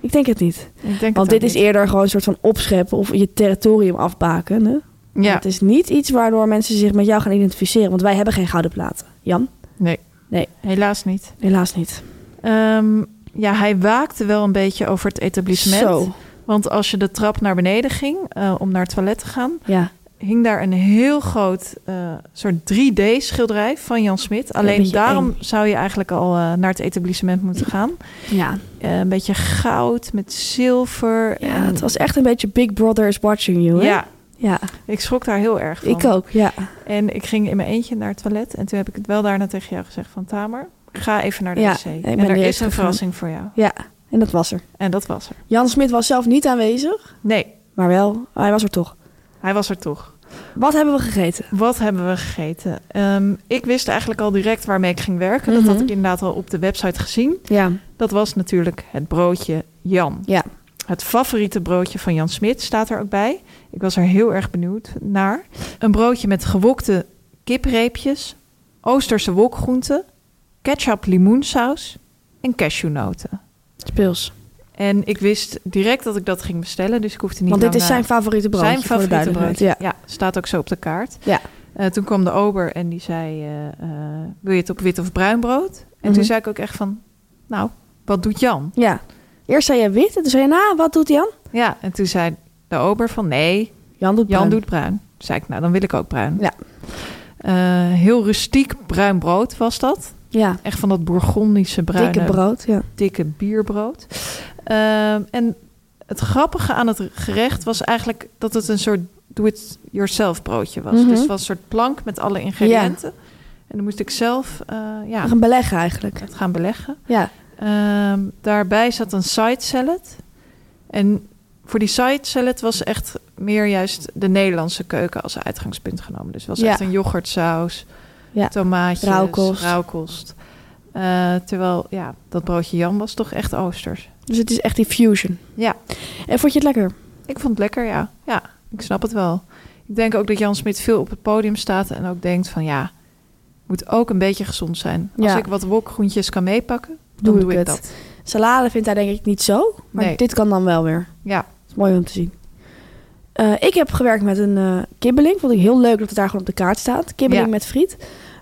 Speaker 3: Ik denk het niet.
Speaker 2: Ik denk
Speaker 3: Want
Speaker 2: het
Speaker 3: dit
Speaker 2: ook
Speaker 3: is
Speaker 2: niet.
Speaker 3: eerder gewoon een soort van opscheppen of je territorium afbaken. Hè?
Speaker 2: Ja,
Speaker 3: Het is niet iets waardoor mensen zich met jou gaan identificeren. Want wij hebben geen gouden platen. Jan?
Speaker 2: nee.
Speaker 3: Nee.
Speaker 2: Helaas niet.
Speaker 3: Helaas niet.
Speaker 2: Ehm, ja, hij waakte wel een beetje over het etablissement.
Speaker 3: Zo.
Speaker 2: Want als je de trap naar beneden ging eh, om naar het toilet te gaan,
Speaker 3: Ja.
Speaker 2: hing daar een heel groot eh, soort 3D-schilderij van Jan Smit. Alleen
Speaker 3: beetje
Speaker 2: daarom
Speaker 3: eng.
Speaker 2: zou je eigenlijk al eh, naar het etablissement moeten gaan.
Speaker 3: Ja.
Speaker 2: Eh, een beetje goud met zilver.
Speaker 3: ja.
Speaker 2: en-
Speaker 3: Het was echt een beetje Big Brother is watching you. Hè?
Speaker 2: ja,
Speaker 3: Ja.
Speaker 2: ik schrok daar heel erg van.
Speaker 3: Ik ook. Ja.
Speaker 2: En ik ging in mijn eentje naar het toilet. En toen heb ik het wel daarna tegen jou gezegd van... Tamer, ga even naar de
Speaker 3: Ja,
Speaker 2: wc.
Speaker 3: ik
Speaker 2: En
Speaker 3: ben
Speaker 2: er
Speaker 3: direct
Speaker 2: is een
Speaker 3: gegaan.
Speaker 2: verrassing voor jou.
Speaker 3: Ja. En dat was er.
Speaker 2: En dat was er.
Speaker 3: Jan Smit was zelf niet aanwezig.
Speaker 2: Nee,
Speaker 3: Maar wel, hij was er toch.
Speaker 2: hij was er toch.
Speaker 3: Wat hebben we gegeten?
Speaker 2: Wat hebben we gegeten? Ehm, ik wist eigenlijk al direct waarmee ik ging werken. Dat
Speaker 3: Mhm.
Speaker 2: had ik inderdaad al op de website gezien.
Speaker 3: Ja.
Speaker 2: Dat was natuurlijk het broodje Jan.
Speaker 3: Ja.
Speaker 2: Het favoriete broodje van Jan Smit staat er ook bij. Ik was er heel erg benieuwd naar. Een broodje met gewokte kipreepjes, Oosterse wokgroenten, ketchup limoensaus en cashewnoten.
Speaker 3: Speels.
Speaker 2: En ik wist direct dat ik dat ging bestellen, dus ik hoefde niet
Speaker 3: Want dit
Speaker 2: lang
Speaker 3: is
Speaker 2: na-
Speaker 3: zijn favoriete broodje.
Speaker 2: zijn favoriete
Speaker 3: voor de
Speaker 2: broodje.
Speaker 3: duidelijkheid.
Speaker 2: Ja. staat ook zo op de kaart.
Speaker 3: Ja.
Speaker 2: Eh, toen kwam de ober en die zei, eh, eh, wil je het op wit of bruin brood? En
Speaker 3: Mhm.
Speaker 2: toen zei ik ook echt van, nou, wat doet Jan?
Speaker 3: Ja. ja. Eerst zei je wit en toen zei je, nou, wat doet Jan?
Speaker 2: Ja, en toen zei de ober van, nee,
Speaker 3: Jan doet
Speaker 2: Jan
Speaker 3: bruin.
Speaker 2: doet bruin. Toen zei ik, nou, dan wil ik ook bruin.
Speaker 3: Ja.
Speaker 2: Eh, heel rustiek bruin brood was dat.
Speaker 3: Ja.
Speaker 2: Echt van dat bourgondische bruine,
Speaker 3: Dikke brood, ja.
Speaker 2: dikke bierbrood. Ehm, en het grappige aan het gerecht was eigenlijk dat het een soort do-it-yourself broodje was.
Speaker 3: Mhm.
Speaker 2: Dus het was een soort plank met alle ingrediënten. En dan moest ik zelf eh, ja,
Speaker 3: Gaan beleggen eigenlijk.
Speaker 2: het gaan beleggen.
Speaker 3: Ja.
Speaker 2: Ehm, daarbij zat een side salad. En voor die side salad was echt meer juist de Nederlandse keuken als uitgangspunt genomen. Dus het was
Speaker 3: Ja.
Speaker 2: echt een yoghurtsaus,
Speaker 3: Ja.
Speaker 2: tomaatjes,
Speaker 3: Rauwkost.
Speaker 2: rauwkost. Eh, terwijl, ja, dat broodje Jan was toch echt oosters.
Speaker 3: Dus het is echt die fusion.
Speaker 2: Ja,
Speaker 3: En vond je het lekker?
Speaker 2: ik vond het lekker, ja. Ja, ik snap het wel. Ik denk ook dat Jan Smit veel op het podium staat en ook denkt van, ja, moet ook een beetje gezond zijn. Als
Speaker 3: Ja.
Speaker 2: ik wat wokgroentjes kan meepakken, dan
Speaker 3: Doe
Speaker 2: doe,
Speaker 3: ik
Speaker 2: ik
Speaker 3: het.
Speaker 2: dat.
Speaker 3: Salade vindt hij denk ik niet zo. Maar
Speaker 2: Nee.
Speaker 3: dit kan dan wel weer.
Speaker 2: Ja,
Speaker 3: is mooi om te zien. Eh, ik heb gewerkt met een eh, kibbeling. Vond ik heel leuk dat het daar gewoon op de kaart staat. Kibbeling
Speaker 2: Ja.
Speaker 3: met friet.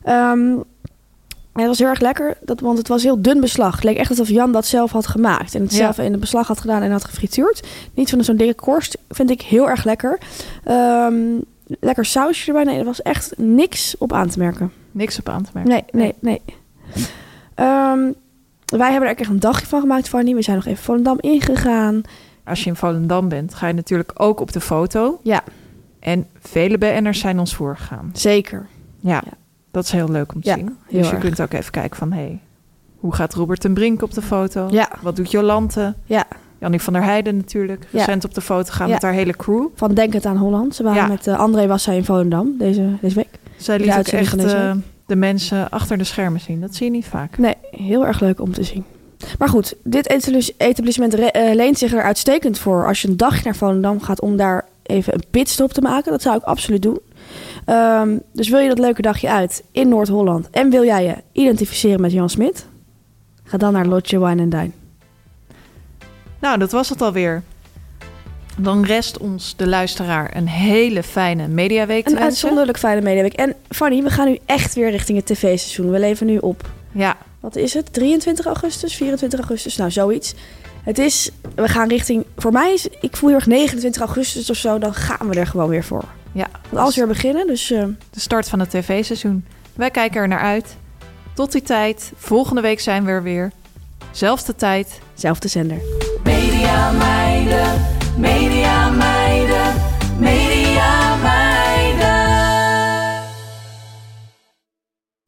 Speaker 3: Ehm, en het was heel erg lekker, dat, want het was heel dun beslag. Het leek echt alsof Jan dat zelf had gemaakt. En het
Speaker 2: Ja.
Speaker 3: zelf in het beslag had gedaan en had gefrituurd. Niet van zo'n dikke korst. Vind ik heel erg lekker. Ehm, lekker sausje erbij. Nee, er was echt niks op aan te merken.
Speaker 2: niks op aan te merken.
Speaker 3: Nee, nee, nee. Ehm, wij hebben er ook echt een dagje van gemaakt, Fanny. We zijn nog even Volendam ingegaan.
Speaker 2: Als je in Volendam bent, ga je natuurlijk ook op de foto.
Speaker 3: Ja.
Speaker 2: En vele BN'ers zijn ons voorgegaan.
Speaker 3: Zeker.
Speaker 2: Ja,
Speaker 3: Ja.
Speaker 2: dat is heel leuk om te
Speaker 3: Ja,
Speaker 2: zien.
Speaker 3: heel
Speaker 2: Dus je
Speaker 3: erg.
Speaker 2: kunt ook even kijken van... Hey, hoe gaat Robert ten Brink op de foto?
Speaker 3: Ja.
Speaker 2: Wat doet Jolante?
Speaker 3: Ja.
Speaker 2: Jannie van der Heijden natuurlijk.
Speaker 3: Ja.
Speaker 2: Recent op de foto gaan
Speaker 3: Ja.
Speaker 2: met haar hele crew.
Speaker 3: van Denk het aan Holland. Ze waren
Speaker 2: Ja.
Speaker 3: met eh, André was zij in Volendam deze, deze week.
Speaker 2: Zij
Speaker 3: De
Speaker 2: liet ook
Speaker 3: uitzending
Speaker 2: echt
Speaker 3: van deze
Speaker 2: eh, de mensen achter de schermen zien. Dat zie je niet vaak.
Speaker 3: Nee, heel erg leuk om te zien. Maar goed, dit etablis- etablissement re- eh, leent zich er uitstekend voor als je een dagje naar Volendam gaat om daar even een pitstop te maken. Dat zou ik absoluut doen. Ehm, dus wil je dat leuke dagje uit in Noord-Holland en wil jij je identificeren met Jan Smit? Ga dan naar Lotje Wine and Dine.
Speaker 2: Nou, dat was het alweer. Dan rest ons de luisteraar een hele fijne mediaweek te
Speaker 3: Een
Speaker 2: wensen.
Speaker 3: uitzonderlijk fijne medeweek. En Fanny, we gaan nu echt weer richting het tv-seizoen. We leven nu op
Speaker 2: Ja,
Speaker 3: wat is het, 23 augustus, 24 augustus, nou zoiets. Het is, we gaan richting, voor mij is, ik voel heel erg 29 augustus of zo, dan gaan we er gewoon weer voor.
Speaker 2: Ja,
Speaker 3: Want alles weer beginnen, dus eh,
Speaker 2: de start van het tv-seizoen. Wij kijken er naar uit. Tot die tijd. Volgende week zijn we er weer. Zelfde tijd.
Speaker 3: zelfde zender.
Speaker 4: Media meiden, media meiden, media meiden.